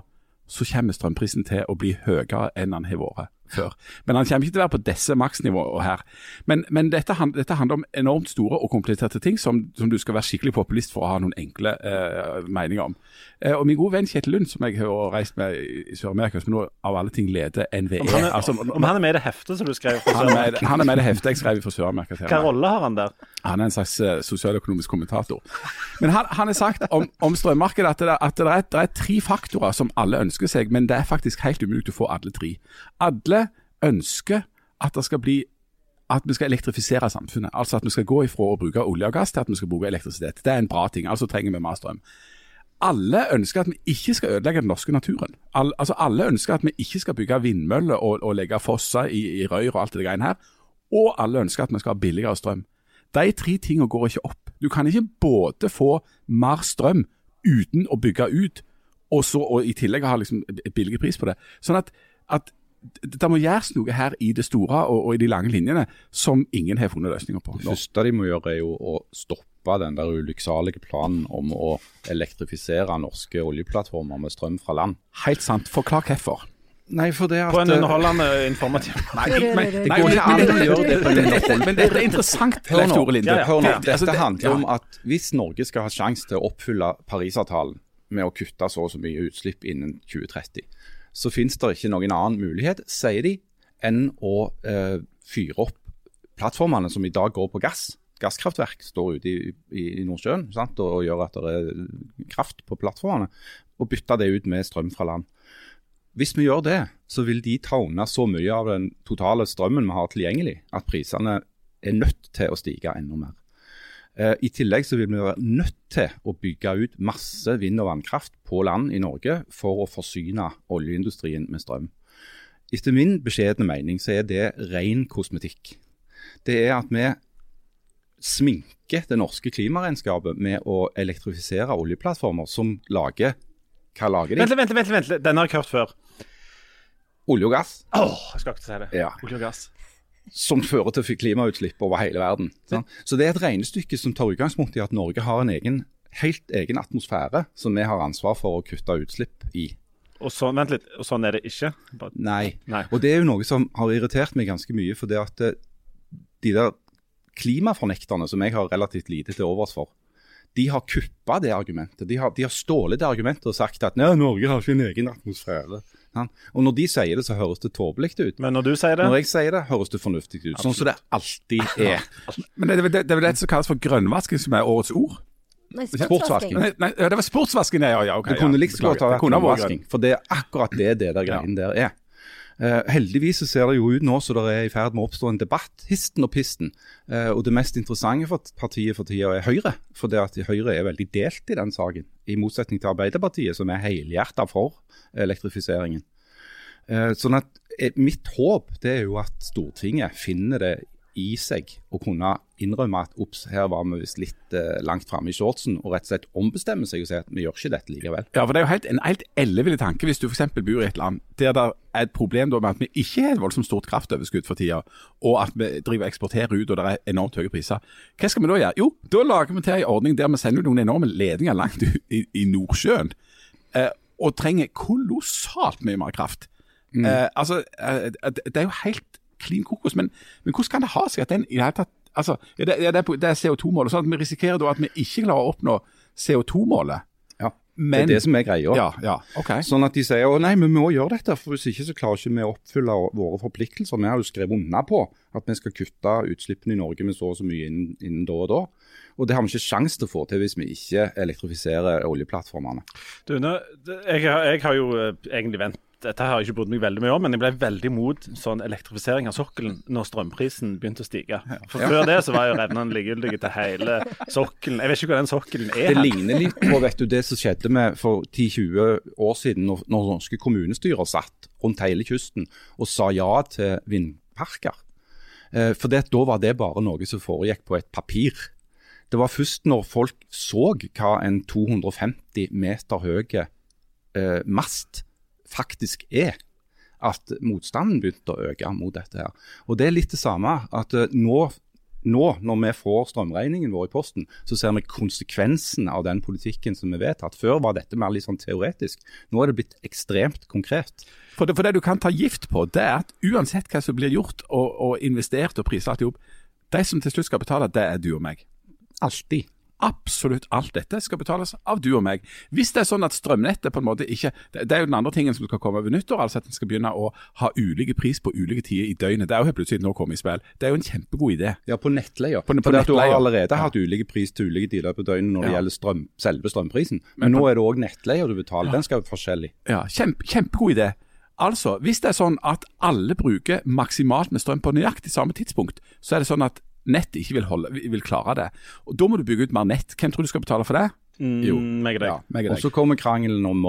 Speaker 3: så kommer strømprisen til å bli høyere enn den har vært før. Men han kommer ikke til å være på disse maksnivåene her. Men, men dette, hand- dette handler om enormt store og kompliserte ting som, som du skal være skikkelig populist for å ha noen enkle eh, meninger om. Eh, og min gode venn Kjetil Lund, som jeg har reist med i i Sør-Amerika, som nå av alle ting leder NVE
Speaker 2: Om han er,
Speaker 3: altså,
Speaker 2: om han er med i det heftet som du skrev? for
Speaker 3: han, er med,
Speaker 2: Sør-Amerika?
Speaker 3: han er med i det heftet jeg skrev for Sør-Amerika. til E.
Speaker 2: Hvilken
Speaker 3: meg.
Speaker 2: rolle har han der?
Speaker 3: Han er en slags eh, sosialøkonomisk kommentator. Men han, han har sagt om, om strømmarkedet at, det, at det, er, det er tre faktorer som alle ønsker seg, men det er faktisk helt umulig å få alle tre. Alle ønsker at det skal bli at vi skal elektrifisere samfunnet. Altså at vi skal gå ifra å bruke olje og gass til at vi skal bruke elektrisitet. Det er en bra ting. Altså trenger vi mer strøm. Alle ønsker at vi ikke skal ødelegge den norske naturen. Al altså Alle ønsker at vi ikke skal bygge vindmøller og, og legge fosser i, i røyr og alt det greiene her. Og alle ønsker at vi skal ha billigere strøm. De tre tingene går ikke opp. Du kan ikke både få mer strøm uten å bygge ut, og, så, og i tillegg ha liksom et billig pris på det. Sånn at, at det det må gjøres noe her i det store og, og i de lange linjene som ingen har funnet løsninger på.
Speaker 4: Det
Speaker 3: Nå.
Speaker 4: første de må gjøre, er jo å stoppe den der ulykksalige planen om å elektrifisere norske oljeplattformer med strøm fra land.
Speaker 3: Helt sant. Forklar hvorfor.
Speaker 4: Nei, for det at eh,
Speaker 2: På en underholdende informativ
Speaker 3: Nei,
Speaker 1: Det- det-
Speaker 3: men-
Speaker 1: det-
Speaker 3: nei,
Speaker 4: det går ikke an å
Speaker 3: men-
Speaker 4: gjøre det på en
Speaker 3: men- dette- Men dette er interessant,
Speaker 4: Hør
Speaker 3: Leif
Speaker 4: nå,
Speaker 3: Tore Linde.
Speaker 2: Ja, ja.
Speaker 4: hør nå.
Speaker 3: Det- altså,
Speaker 4: Dette
Speaker 3: det-
Speaker 4: handler
Speaker 3: ja.
Speaker 4: om at hvis Norge skal ha sjanse til å oppfylle Parisavtalen med å kutte så og så mye utslipp innen 2030, så finnes det ikke noen annen mulighet, sier de, enn å eh, fyre opp plattformene som i dag går på gass. Gasskraftverk står ute i, i, i Nordsjøen sant? Og, og gjør at det er kraft på plattformene, og bytte det ut med strøm fra land. Hvis vi gjør det, så vil de ta unna så mye av den totale strømmen vi har tilgjengelig, at prisene er nødt til å stige enda mer. Eh, I tillegg så vil vi være nødt til å bygge ut masse vind- og vannkraft på land i Norge for å forsyne oljeindustrien med strøm. Etter min beskjedne mening så er det ren kosmetikk. Det er at vi sminker det norske klimaregnskapet med å elektrifisere oljeplattformer som lager Hva lager
Speaker 2: Vent,
Speaker 4: de?
Speaker 2: litt, vent, litt, vent, litt. denne har jeg hørt før.
Speaker 4: Olje og gass.
Speaker 2: Åh, jeg skal ikke si det.
Speaker 4: Ja.
Speaker 2: Olje og gass.
Speaker 4: som fører til klimautslipp over hele verden. Sant? Så det er et regnestykke som tar utgangspunkt i at Norge har en egen, helt egen atmosfære som vi har ansvar for å kutte utslipp i.
Speaker 2: Og sånn, vent litt, og sånn er det ikke? Bare-
Speaker 4: Nei.
Speaker 2: Nei.
Speaker 4: Og det er jo noe som har irritert meg ganske mye, for det at eh, de der klimafornekterne som jeg har relativt lite til overs for, de har kuppa det argumentet. De har, de har stålet det argumentet og sagt at Nei, Norge har ikke en egen atmosfære. Sant? Og når de sier det, så høres det tåpelig ut.
Speaker 2: Men når du sier
Speaker 4: Når
Speaker 2: det
Speaker 4: jeg sier det, høres det fornuftig ut. Sånn som det alltid er.
Speaker 3: Men det er vel det, det, er vel det som kalles for grønnvasking, som er årets ord?
Speaker 1: Nei,
Speaker 4: Sportsvasking.
Speaker 1: sportsvasking.
Speaker 3: Nei, nei, det var sportsvasking, ja. ja, ja ok,
Speaker 4: Det kunne
Speaker 3: ja,
Speaker 4: like så godt ha
Speaker 3: beklager. Det
Speaker 4: vært
Speaker 3: kunne ha vært
Speaker 4: overrasking, for det er akkurat det det der greien der er. Eh, heldigvis så ser det jo ut nå så det er i ferd med å oppstå en debatt, histen og pisten. Eh, og det mest interessante for partiet for tida er Høyre, for det at Høyre er veldig delt i den saken. I motsetning til Arbeiderpartiet, som er helhjerta for elektrifiseringen. Eh, sånn at eh, mitt håp det er jo at Stortinget finner det i seg å kunne innrømme at ops, her var vi visst litt eh, langt framme i shortsen, og rett og slett ombestemme seg og si at vi gjør ikke dette likevel.
Speaker 3: Ja, for Det er jo helt, en helt ellevill tanke hvis du f.eks. bor i et land der det er et problem da, med at vi ikke har et voldsomt stort kraftoverskudd for tida, og at vi driver og eksporterer ut og det er enormt høye priser. Hva skal vi da gjøre? Jo, da lager vi til en ordning der vi sender ut noen enorme ledninger langt ut i, i Nordsjøen, eh, og trenger kolossalt mye mer kraft.
Speaker 4: Mm.
Speaker 3: Eh, altså, eh, det det er jo helt klin kokos, men, men hvordan kan det ha seg at den i det hele tatt Altså, ja, det, ja, det er på- det er CO2-målet, sånn at vi risikerer da at vi ikke klarer å oppnå CO2-målet.
Speaker 4: Ja,
Speaker 3: Men-
Speaker 4: det er det som er greia.
Speaker 3: Ja, ja, ok.
Speaker 4: Sånn at de sier å nei, men vi må gjøre dette, for hvis ikke så klarer ikke vi å oppfylle våre forpliktelser. Vi har jo skrevet unna på at vi skal kutte utslippene i Norge med så og så mye innen, innen da og da. Og det har vi ikke sjanse til å få til hvis vi ikke elektrifiserer oljeplattformene.
Speaker 2: Du, nå, det- jeg, har- jeg har jo eh, egentlig vent dette har jeg ikke brydd meg veldig mye om, men jeg ble veldig mot sånn elektrifisering av sokkelen når strømprisen begynte å stige. For Før det så var jo revnene likegyldige til hele sokkelen. Jeg vet ikke hva den sokkelen er.
Speaker 4: Det
Speaker 2: her.
Speaker 4: ligner litt på vet du, det som skjedde med for 10-20 år siden, når, når norske kommunestyrer satt rundt hele kysten og sa ja til vindparker. Eh, for det, at da var det bare noe som foregikk på et papir. Det var først når folk så hva en 250 meter høy eh, mast faktisk er, at motstanden begynte å øke mot dette her. Og det er litt det samme, at eh, nå nå, når vi får strømregningen vår i posten, så ser vi konsekvensen av den politikken som er vedtatt. Før var dette mer litt sånn teoretisk. Nå er det blitt ekstremt konkret.
Speaker 3: For det, for det du kan ta gift på, det er at uansett hva som blir gjort og, og investert og priser alt i hop, de som til slutt skal betale, det er du og meg.
Speaker 4: Alltid.
Speaker 3: Absolutt alt dette skal betales av du og meg. Hvis det er sånn at strømnettet på en måte ikke Det det er jo den andre tingen som skal komme over nyttår, altså at en skal begynne å ha ulike pris på ulike tider i døgnet. Det er jo helt plutselig nå kommet i spill. Det er jo en kjempegod idé.
Speaker 4: Ja, på nettleier.
Speaker 3: På- på
Speaker 4: For det at du har
Speaker 3: nettleier.
Speaker 4: allerede hatt ulike pris til ulike dealer på døgnet når det
Speaker 3: Ja.
Speaker 4: gjelder strøm, selve strømprisen. Men nå er det òg nettleier du betaler. Den skal være forskjellig.
Speaker 3: Ja, kjempe, kjempegod idé. Altså, hvis det er sånn at alle bruker maksimalt med strøm på nøyaktig samme tidspunkt, så er det sånn at nettet ikke vil, holde, vil klare det. Og Da må du bygge ut mer nett. Hvem tror du skal betale for det?
Speaker 2: Jo, Mm,
Speaker 4: Mm.
Speaker 2: meg og deg.
Speaker 3: Ja, meg og
Speaker 4: Og
Speaker 3: deg.
Speaker 4: så kommer krangelen om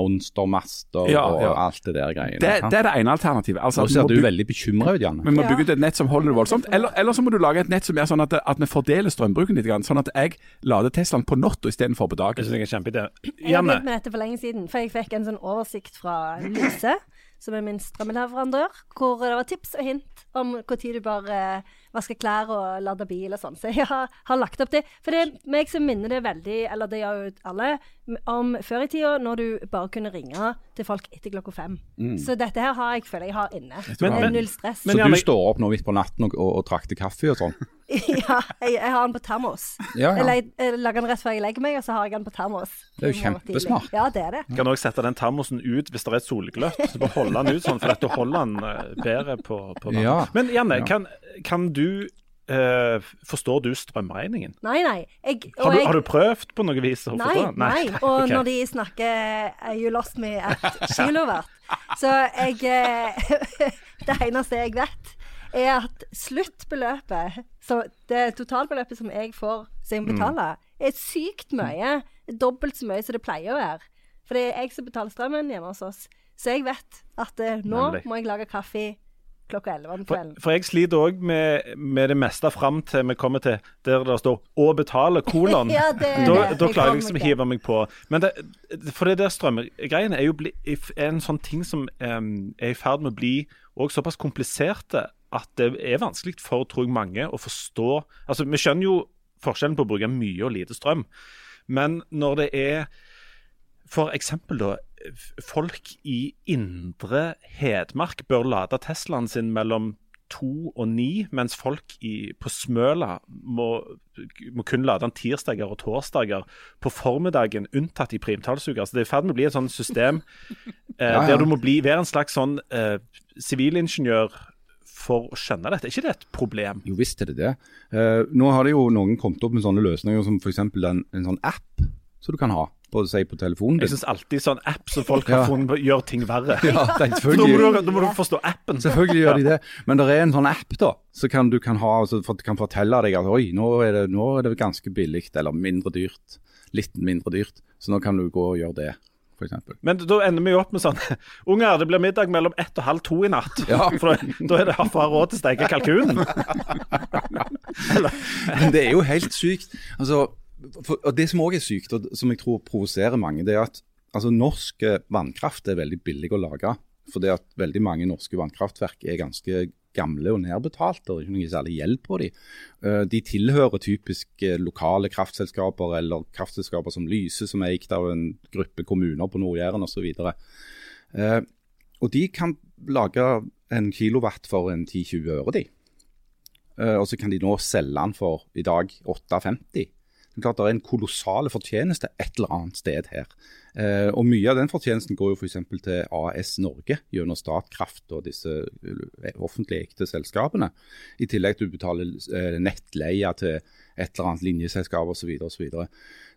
Speaker 4: monstermaster
Speaker 3: Ja,
Speaker 4: og
Speaker 3: ja.
Speaker 4: alt det der greiene.
Speaker 3: Det,
Speaker 4: Ja.
Speaker 3: det er det ene alternativet. Altså,
Speaker 4: Nå
Speaker 3: at vi
Speaker 4: ser
Speaker 3: må
Speaker 4: du
Speaker 3: bygge-
Speaker 4: veldig bekymra ut, Janne.
Speaker 3: Vi må
Speaker 1: Ja.
Speaker 3: bygge ut et nett som holder det voldsomt. Eller, eller så må du lage et nett som er sånn at, at vi fordeler strømbruken litt. grann, Sånn at jeg lader Teslaen på natta istedenfor på
Speaker 2: Jeg
Speaker 3: dagen.
Speaker 2: synes det er en kjempeidé.
Speaker 1: Jeg har
Speaker 2: Janne,
Speaker 1: begynt med dette for lenge siden, for jeg fikk en sånn oversikt fra Lyse, som er min strømmeleverandør, hvor det var tips og hint om når du bør eh, vaske klær og lade bil og sånn. Så jeg har, har lagt opp det. For det er meg som minner det veldig, eller det gjør jo alle, om før i tida når du bare kunne ringe til folk etter klokka fem.
Speaker 4: Mm.
Speaker 1: Så dette her har jeg, føler jeg har inne.
Speaker 2: Men-
Speaker 1: det
Speaker 2: men-
Speaker 1: er null stress.
Speaker 2: men-
Speaker 4: Så
Speaker 2: Janne-
Speaker 4: du står opp nå midt på natten og, og, og trakter kaffe og sånn?
Speaker 1: ja, jeg, jeg har den på termos.
Speaker 4: Ja, ja.
Speaker 1: Jeg, leg- jeg lager den rett før jeg legger meg, og så har jeg den på termos.
Speaker 4: Det er jo
Speaker 1: i morgen tidlig.
Speaker 4: kjempesmart.
Speaker 1: Ja, det er det.
Speaker 2: kan også sette den termosen ut hvis det er et solgløtt. Så bare holde den ut sånn, for at du holder den eh, bedre på, på vann.
Speaker 4: Ja.
Speaker 2: Men Janne, kan, kan du eh, Forstår du strømregningen?
Speaker 1: Nei, nei. Jeg, og
Speaker 2: Har du,
Speaker 1: jeg-
Speaker 2: har du prøvd på noe vis å
Speaker 1: Nei,
Speaker 2: forstå? den?
Speaker 1: nei. Og
Speaker 2: ok.
Speaker 1: når de snakker eh, 'you lost me at kilowatt', så jeg eh, Det eneste jeg vet, er at sluttbeløpet, så det totalbeløpet som jeg får som jeg
Speaker 2: Mm.
Speaker 1: må betale, er sykt mye. Dobbelt så mye som det pleier å være. For det er jeg som betaler strømmen hjemme hos oss. Så jeg vet at eh, nå
Speaker 2: Nemlig.
Speaker 1: må jeg lage kaffe klokka elleve om
Speaker 2: For,
Speaker 1: kvelden.
Speaker 2: for jeg sliter òg med, med det meste fram til vi kommer til der det står 'å betale', kolon.
Speaker 1: Ja, det er
Speaker 2: da,
Speaker 1: det.
Speaker 2: da
Speaker 1: Jeg
Speaker 2: klarer
Speaker 1: kommer
Speaker 2: jeg liksom å
Speaker 1: til.
Speaker 2: hive meg på. Men det, for det der strømgreiene er jo bli, er en sånn ting som em, er i ferd med å bli og såpass kompliserte at det er vanskelig for tror jeg, mange å forstå Altså, Vi skjønner jo forskjellen på å bruke mye og lite strøm, men når det er for eksempel da, f- folk i indre Hedmark bør lade Teslaen sin mellom to og ni, mens folk i, på Smøla må, må kun lade den tirsdager og torsdager på formiddagen, unntatt i primtallsuker. Så det er i ferd med å bli et sånt system eh,
Speaker 4: Ja, ja.
Speaker 2: der du må bli, være en slags sånn eh, sivilingeniør for å skjønne dette. Er ikke det et problem?
Speaker 4: Jo visst er det det. Eh, nå har det jo noen kommet opp med sånne løsninger som f.eks. En, en sånn app som du kan ha på, si, på telefonen
Speaker 2: Jeg
Speaker 4: din.
Speaker 2: syns alltid sånn app som folk har
Speaker 4: Ja.
Speaker 2: funnet på, gjør ting verre.
Speaker 4: Ja, det er
Speaker 2: Da må,
Speaker 4: selvfølgelig.
Speaker 2: du, da må du forstå appen.
Speaker 4: Selvfølgelig gjør de det, men det er en sånn app da, så kan du kan ha, så for, kan fortelle deg at oi, nå er det, nå er det ganske billig, eller mindre dyrt, litt mindre dyrt, så nå kan du gå og gjøre det, for eksempel.
Speaker 2: Men da ender vi jo opp med sånn Unger, det blir middag mellom ett og halv to i natt.
Speaker 4: Ja.
Speaker 2: For da, da er det for å ha råd til å steke kalkunen. Eller,
Speaker 4: Men det er jo helt sykt. Altså, for, og det som òg er sykt, og som jeg tror provoserer mange, det er at altså, norsk eh, vannkraft er veldig billig å lage. Fordi at veldig mange norske vannkraftverk er ganske gamle og nedbetalte, og det er ikke noe særlig gjeld på dem. De tilhører typisk eh, lokale kraftselskaper eller kraftselskaper som Lyse, som er eid av en gruppe kommuner på Nord-Jæren osv. Eh, Og de kan lage en kilowatt for en 10-20 øre, de. Eh, og så kan de nå selge den for i dag 8,50. Det er klart det er en kolossal fortjeneste et eller annet sted her. Eh, og mye av den fortjenesten går jo f.eks. til AS Norge gjennom Statkraft og disse eh, offentlig eide selskapene. I tillegg til du betaler eh, nettleie til et eller annet linjeselskap osv. osv.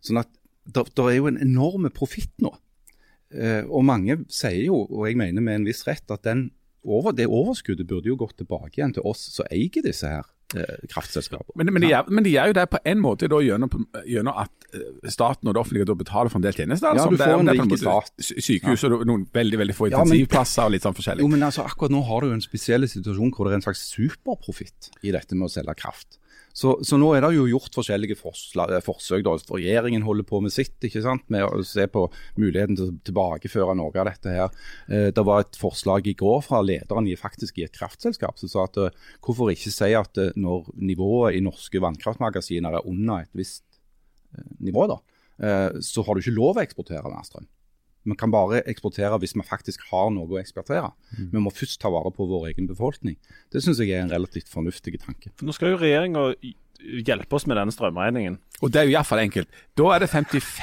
Speaker 4: Sånn at det er jo en enorm profitt nå. Eh, og mange sier jo, og jeg mener med en viss rett, at den over, det overskuddet burde jo gått tilbake igjen til oss som eier disse her eh, kraftselskapene.
Speaker 3: Men, men, de gjør, men de gjør jo det på en måte da, gjennom, gjennom at eh, staten og det offentlige da betaler for en del tjenester.
Speaker 4: Ja,
Speaker 3: altså,
Speaker 4: du
Speaker 3: om det er-
Speaker 4: får
Speaker 3: om
Speaker 4: en
Speaker 3: det er på
Speaker 4: rik
Speaker 3: måte sy- Sykehus og noen veldig veldig få
Speaker 4: Ja, men-
Speaker 3: intensivplasser og litt sånn forskjellig.
Speaker 4: Jo, men altså, akkurat nå har du jo en spesiell situasjon hvor det er en slags superprofitt i dette med å selge kraft. Så, så nå er det jo gjort forskjellige forsla, eh, forsøk. Da. Regjeringen holder på med sitt, ikke sant? med å se på muligheten til å tilbakeføre noe av dette. her. Eh, Det var et forslag i går fra lederen i faktisk i et kraftselskap som sa at eh, hvorfor ikke si at eh, når nivået i norske vannkraftmagasiner er under et visst eh, nivå, da, eh, så har du ikke lov å eksportere mer strøm. Vi kan bare eksportere hvis vi faktisk har noe å eksportere. Vi må først ta vare på vår egen befolkning. Det syns jeg er en relativt fornuftig tanke.
Speaker 2: For nå skal jo regjeringa hjelpe oss med denne strømregningen.
Speaker 3: Og det er jo iallfall enkelt. Da er det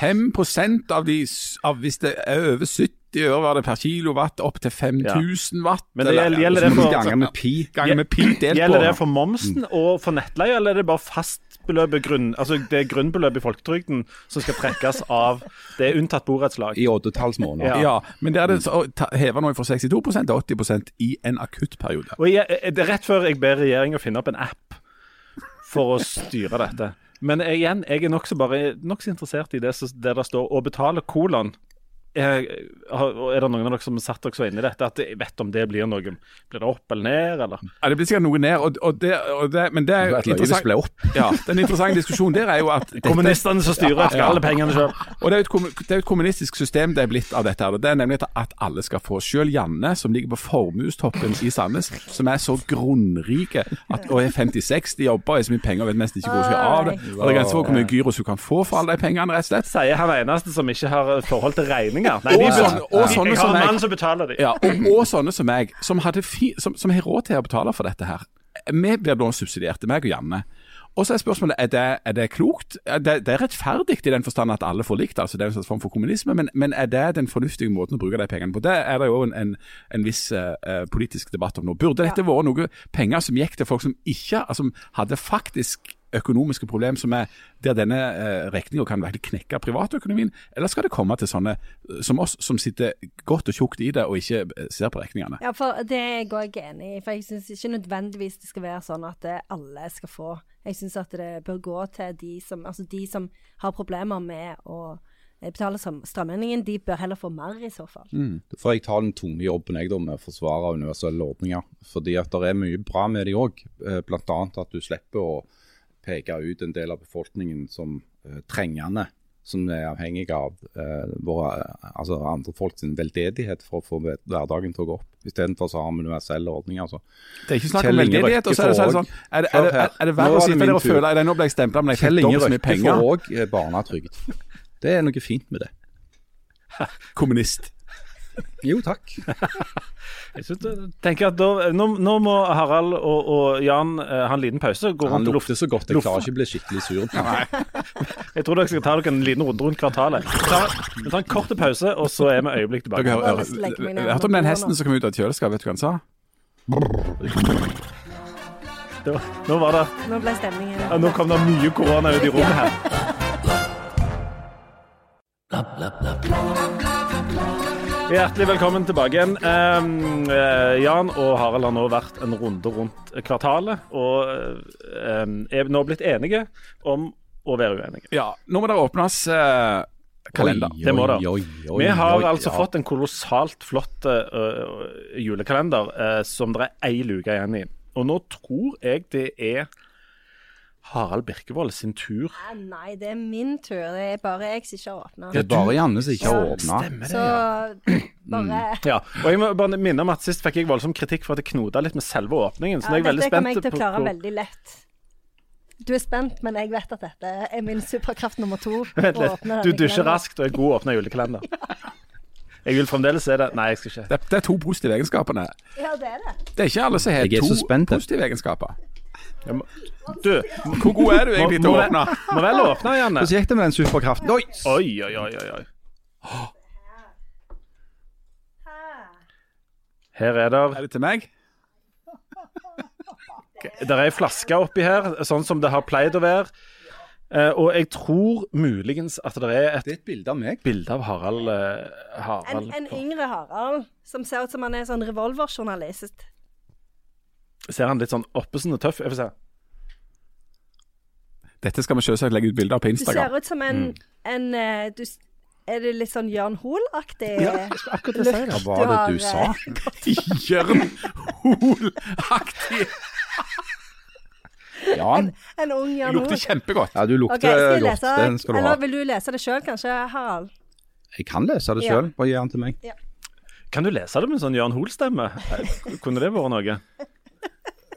Speaker 3: 55 av de s- av Hvis det er over 70 øre var det per kilowatt, opp til 5000 watt.
Speaker 2: Men det
Speaker 3: eller-
Speaker 2: gjelder- gjelder det
Speaker 3: så må
Speaker 2: for-
Speaker 3: du gange med pi. Gange med pi delt
Speaker 2: Gjelder
Speaker 3: på.
Speaker 2: det for momsen og for nettleie, eller er det bare fastbeløpet grunn, altså det er grunnbeløpet i folketrygden som skal trekkes av Det er unntatt borettslag.
Speaker 4: I oddetalls måneder.
Speaker 2: Ja.
Speaker 3: ja. men der er det så- å ta- heve noe fra 62 til 80 i en akutt periode.
Speaker 2: Og jeg, jeg- det er rett før jeg ber regjeringa finne opp en app for å styre dette. Men jeg- igjen, jeg er nokså bare nokså interessert i det som- der det står 'å betale kolon'. Eh, har- og Er det noen av dere som har satt dere så inn i dette at jeg vet om det blir noe Blir det opp eller ned, eller?
Speaker 3: Ja, det blir sikkert noe ned, og, og det, og det, men det er
Speaker 4: Det
Speaker 3: jo
Speaker 4: var et løye som ble opp.
Speaker 3: Ja, den interessante diskusjonen der er jo at dette-
Speaker 2: Kommunistene som styrer, skal
Speaker 3: Ja.
Speaker 2: alle pengene sjøl.
Speaker 3: Og det er, jo et, kommu- det er jo et kommunistisk system det er blitt av dette. her, og Det er nemlig at alle skal få. Selv Janne, som ligger på formuestoppen i Sandnes, som er så grunnrike at, og er 56, de jobber og er så mye penger og vet nesten ikke hvor hun skal av det. Og det er grenser for hvor mye gyros hun kan få for alle de pengene, rett og slett.
Speaker 2: Sier han eneste som ikke har eh, forhold til regninger. Nei,
Speaker 3: Og
Speaker 2: de,
Speaker 3: sånne- og sånne
Speaker 2: jeg har
Speaker 3: som
Speaker 2: en
Speaker 3: jeg-
Speaker 2: mann som betaler de.
Speaker 3: Ja, og, og sånne som meg, som, hadde fi, som, som har råd til å betale for dette her. Vi blir nå subsidierte, meg og Janne. Og så er spørsmålet, er det, er det klokt? Er det, det er rettferdig i den forstand at alle får likt, altså det er en slags form for kommunisme, men, men er det den fornuftige måten å bruke de pengene på? Det er det jo en, en, en viss eh, eh, politisk debatt om nå. Burde dette vært noe penger som gikk til folk som ikke, altså som hadde faktisk økonomiske problem som er der denne eh, regninga kan virkelig knekke privatøkonomien, eller skal det komme til sånne eh, som oss, som sitter godt og tjukt i det og ikke eh, ser på regningene?
Speaker 1: Ja, for det er jeg òg enig i. For jeg syns ikke nødvendigvis det skal være sånn at eh, alle skal få. Jeg syns at det bør gå til de som, altså de som har problemer med å eh, betale som- strømregningen. De bør heller få mer, i så fall.
Speaker 2: Mm.
Speaker 4: For jeg tar den tunge jobben jeg da med å forsvare universelle ordninger. Fordi at det er mye bra med de òg. Bl.a. at du slipper å peke ut en del av befolkningen som eh, trengende. Som er avhengig av eh, våre, altså andre folks veldedighet for å få hver- hverdagen til å gå opp. Istedenfor så har vi universelle ordninger. Altså.
Speaker 3: Det er ikke snakk om
Speaker 4: Kjell Inge
Speaker 3: veldedighet. og så er det, så er det
Speaker 4: Røkke
Speaker 3: sånn, er det, er det, er, er det verre
Speaker 4: Nå
Speaker 3: å
Speaker 4: er det
Speaker 3: sitte
Speaker 4: min
Speaker 3: der og
Speaker 4: tur.
Speaker 3: føle at nå ble jeg stempla, men jeg fikk
Speaker 4: Kjell Inge
Speaker 3: dobbelt så mye
Speaker 4: Røkke får
Speaker 3: penger?
Speaker 4: òg eh, barnetrygd. Det er noe fint med det.
Speaker 3: Kommunist.
Speaker 4: Jo, takk.
Speaker 2: Jeg synes, jeg tenker at da, eh, nå, nå må Harald og, og Jan eh, ha en liten pause. Gå
Speaker 4: Han
Speaker 2: rundt og lufte.
Speaker 4: lukter så godt. Jeg klarer ikke å bli skikkelig sur på ham.
Speaker 2: Jeg tror dere skal ta dere en liten runde rundt kvartalet. Vi tar, vi tar en kort pause, og så er vi øyeblikk
Speaker 3: Dere
Speaker 2: tilbake.
Speaker 1: Jeg har
Speaker 3: hører-
Speaker 1: lyst til å legge meg ned
Speaker 3: hører- Hørte om den
Speaker 1: under
Speaker 3: hesten
Speaker 1: bordet nå.
Speaker 3: som kom ut av et kjøleskap, vet du hva han sa?
Speaker 2: Det var, nå, var det,
Speaker 1: Nå ble stemningen
Speaker 2: ja, nå kom det mye korona ut i rommet her. Hjertelig velkommen tilbake igjen. Ehm, eh, Jan og Harald har nå vært en runde rundt kvartalet, og eh, ehm, er nå blitt enige om å være uenige.
Speaker 3: Ja, nå må det åpnes eh, kalender.
Speaker 2: Det må det. Vi har altså
Speaker 4: ja.
Speaker 2: fått en kolossalt flott eh, julekalender eh, som det er ei luke igjen i. Og nå tror jeg det er Harald Birkevold sin tur.
Speaker 1: Nei, Nei, det er min tur. Det er bare jeg som ikke har åpna.
Speaker 4: Det er bare Janne som ikke har åpna.
Speaker 1: Så
Speaker 2: Mm.
Speaker 1: bare
Speaker 2: Ja, og jeg må bare minne om at Sist fikk jeg voldsom kritikk for at jeg knota litt med selve åpningen. Så
Speaker 1: ja,
Speaker 2: nå er jeg veldig
Speaker 1: Dette kommer jeg
Speaker 2: spent
Speaker 1: til å
Speaker 2: på
Speaker 1: klare
Speaker 2: hvor-
Speaker 1: veldig lett. Du er spent, men jeg vet at dette er min superkraft nummer to. å
Speaker 2: Vent litt.
Speaker 1: åpne
Speaker 2: Du
Speaker 1: denne
Speaker 2: dusjer
Speaker 1: kalenderen.
Speaker 2: raskt og er god å åpne julekalender. Jeg vil fremdeles se det. Nei, jeg skal ikke.
Speaker 3: Det, det er to positive egenskapene.
Speaker 1: Ja, det er det.
Speaker 3: Det er ikke alle som har
Speaker 4: Jeg er
Speaker 3: to
Speaker 4: så spent, jeg.
Speaker 3: positive egenskaper.
Speaker 2: Jeg må... Du,
Speaker 3: Hvor god er du
Speaker 2: må,
Speaker 3: egentlig
Speaker 2: må,
Speaker 3: til å
Speaker 2: vel-
Speaker 3: åpne?
Speaker 2: må vel åpne, Janne.
Speaker 4: Hvordan gikk det med den superkraften? Oi!
Speaker 2: Oi, oi, oi, oi, oi. Her er det
Speaker 3: Er det til meg?
Speaker 2: Det er ei flaske oppi her, sånn som det har pleid å være. Eh, og jeg tror muligens at det er et
Speaker 4: Det er et bilde av meg.
Speaker 2: bilde av Harald, eh,
Speaker 1: En,
Speaker 2: Harald
Speaker 1: en
Speaker 2: på.
Speaker 1: yngre Harald som ser ut som han er sånn revolverjournalist.
Speaker 2: Ser han litt sånn oppesen og tøff Jeg får se.
Speaker 3: Dette skal vi selvsagt legge ut bilder av på
Speaker 1: Du ser
Speaker 3: Instagram.
Speaker 1: ut som en, en eh, du, s- Er det litt sånn Jørn Hoel-aktig?
Speaker 2: Akkurat det sier
Speaker 4: Hva
Speaker 2: jeg.
Speaker 4: var det du
Speaker 1: har,
Speaker 4: sa?
Speaker 3: Jørn Hoel-aktig!
Speaker 4: Jan?
Speaker 1: En ung
Speaker 3: Det
Speaker 1: Jan Hoel.
Speaker 3: lukter kjempegodt.
Speaker 4: Ja, du
Speaker 1: Ok,
Speaker 4: lukter
Speaker 1: skal jeg
Speaker 4: godt.
Speaker 1: lese
Speaker 4: Den skal du ha.
Speaker 1: Eller vil du lese det sjøl, kanskje, Harald?
Speaker 4: Jeg kan lese det
Speaker 1: Ja.
Speaker 4: sjøl. Bare gi den til meg.
Speaker 2: Kan du lese det med en sånn Jan Hoel-stemme? Eh, Kunne det vært noe?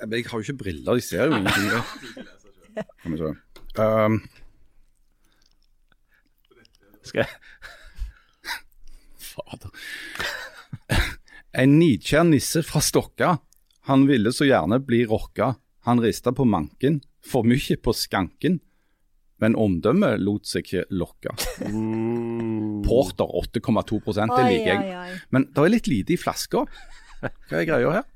Speaker 4: Men jeg har jo ikke briller, de ser jo ingenting. Kom igjen. Um,
Speaker 2: Skal jeg?
Speaker 4: Fader. En nidkjær nisse fra Stokka. Han ville så gjerne bli rocka. Han rista på manken, for mye på skanken. Men omdømmet lot seg ikke lokke. Porter 8,2 det
Speaker 1: Oi,
Speaker 4: liker jeg.
Speaker 1: oi, oi.
Speaker 4: Men det er litt lite i flaska. Hva er greia her?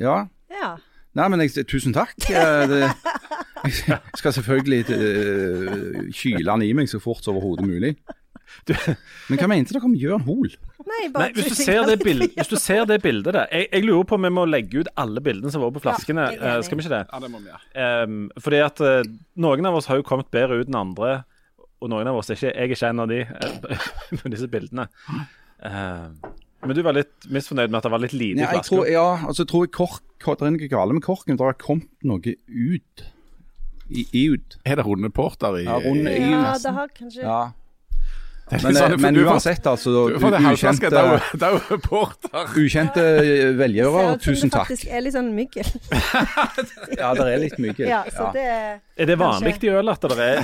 Speaker 4: Ja.
Speaker 1: Ja.
Speaker 4: Nei, men jeg, tusen takk. Eh, Det, jeg skal selvfølgelig eh, kyle han i meg så fort som overhodet mulig. Men hva mente dere om Jørn Hoel?
Speaker 1: Nei, bare
Speaker 2: Nei, hvis du
Speaker 1: tusen
Speaker 2: ser det
Speaker 1: hjertelig.
Speaker 2: bildet, hvis du ser det bildet der jeg, jeg lurer på om vi må legge ut alle bildene som var på flaskene.
Speaker 1: jeg er enig.
Speaker 2: Eh, skal vi ikke det?
Speaker 3: Ja, det må vi gjøre.
Speaker 2: Um, fordi at eh, noen av oss har jo kommet bedre ut enn andre, og noen av oss er ikke Jeg er ikke en av de eh, på disse bildene. Eh, men du var litt misfornøyd med at det var litt lite i
Speaker 4: Ja, jeg
Speaker 2: flaska?
Speaker 4: tror, ja, altså, jeg tror kork, kork, det er noe galt med korken. Det har kommet noe ut. I, i ut.
Speaker 3: Er det runde porter i
Speaker 4: Ja, runde i
Speaker 1: Ja,
Speaker 4: nesten.
Speaker 1: det har kanskje
Speaker 4: Ja.
Speaker 3: Det er
Speaker 4: Men,
Speaker 3: litt
Speaker 4: eh,
Speaker 3: sånn, for
Speaker 4: men
Speaker 3: du får-
Speaker 4: uansett, altså.
Speaker 3: du får det
Speaker 4: u-
Speaker 3: halvflaske,
Speaker 4: Ukjente,
Speaker 3: da er- da er porter.
Speaker 4: ukjente velgjørere,
Speaker 1: Ser ut som
Speaker 4: tusen
Speaker 1: det
Speaker 4: takk.
Speaker 1: faktisk er litt sånn myggel.
Speaker 4: Ja, det er litt mye.
Speaker 1: Ja, så det
Speaker 2: Er det vanlig
Speaker 1: Kanskje.
Speaker 2: i øl at det er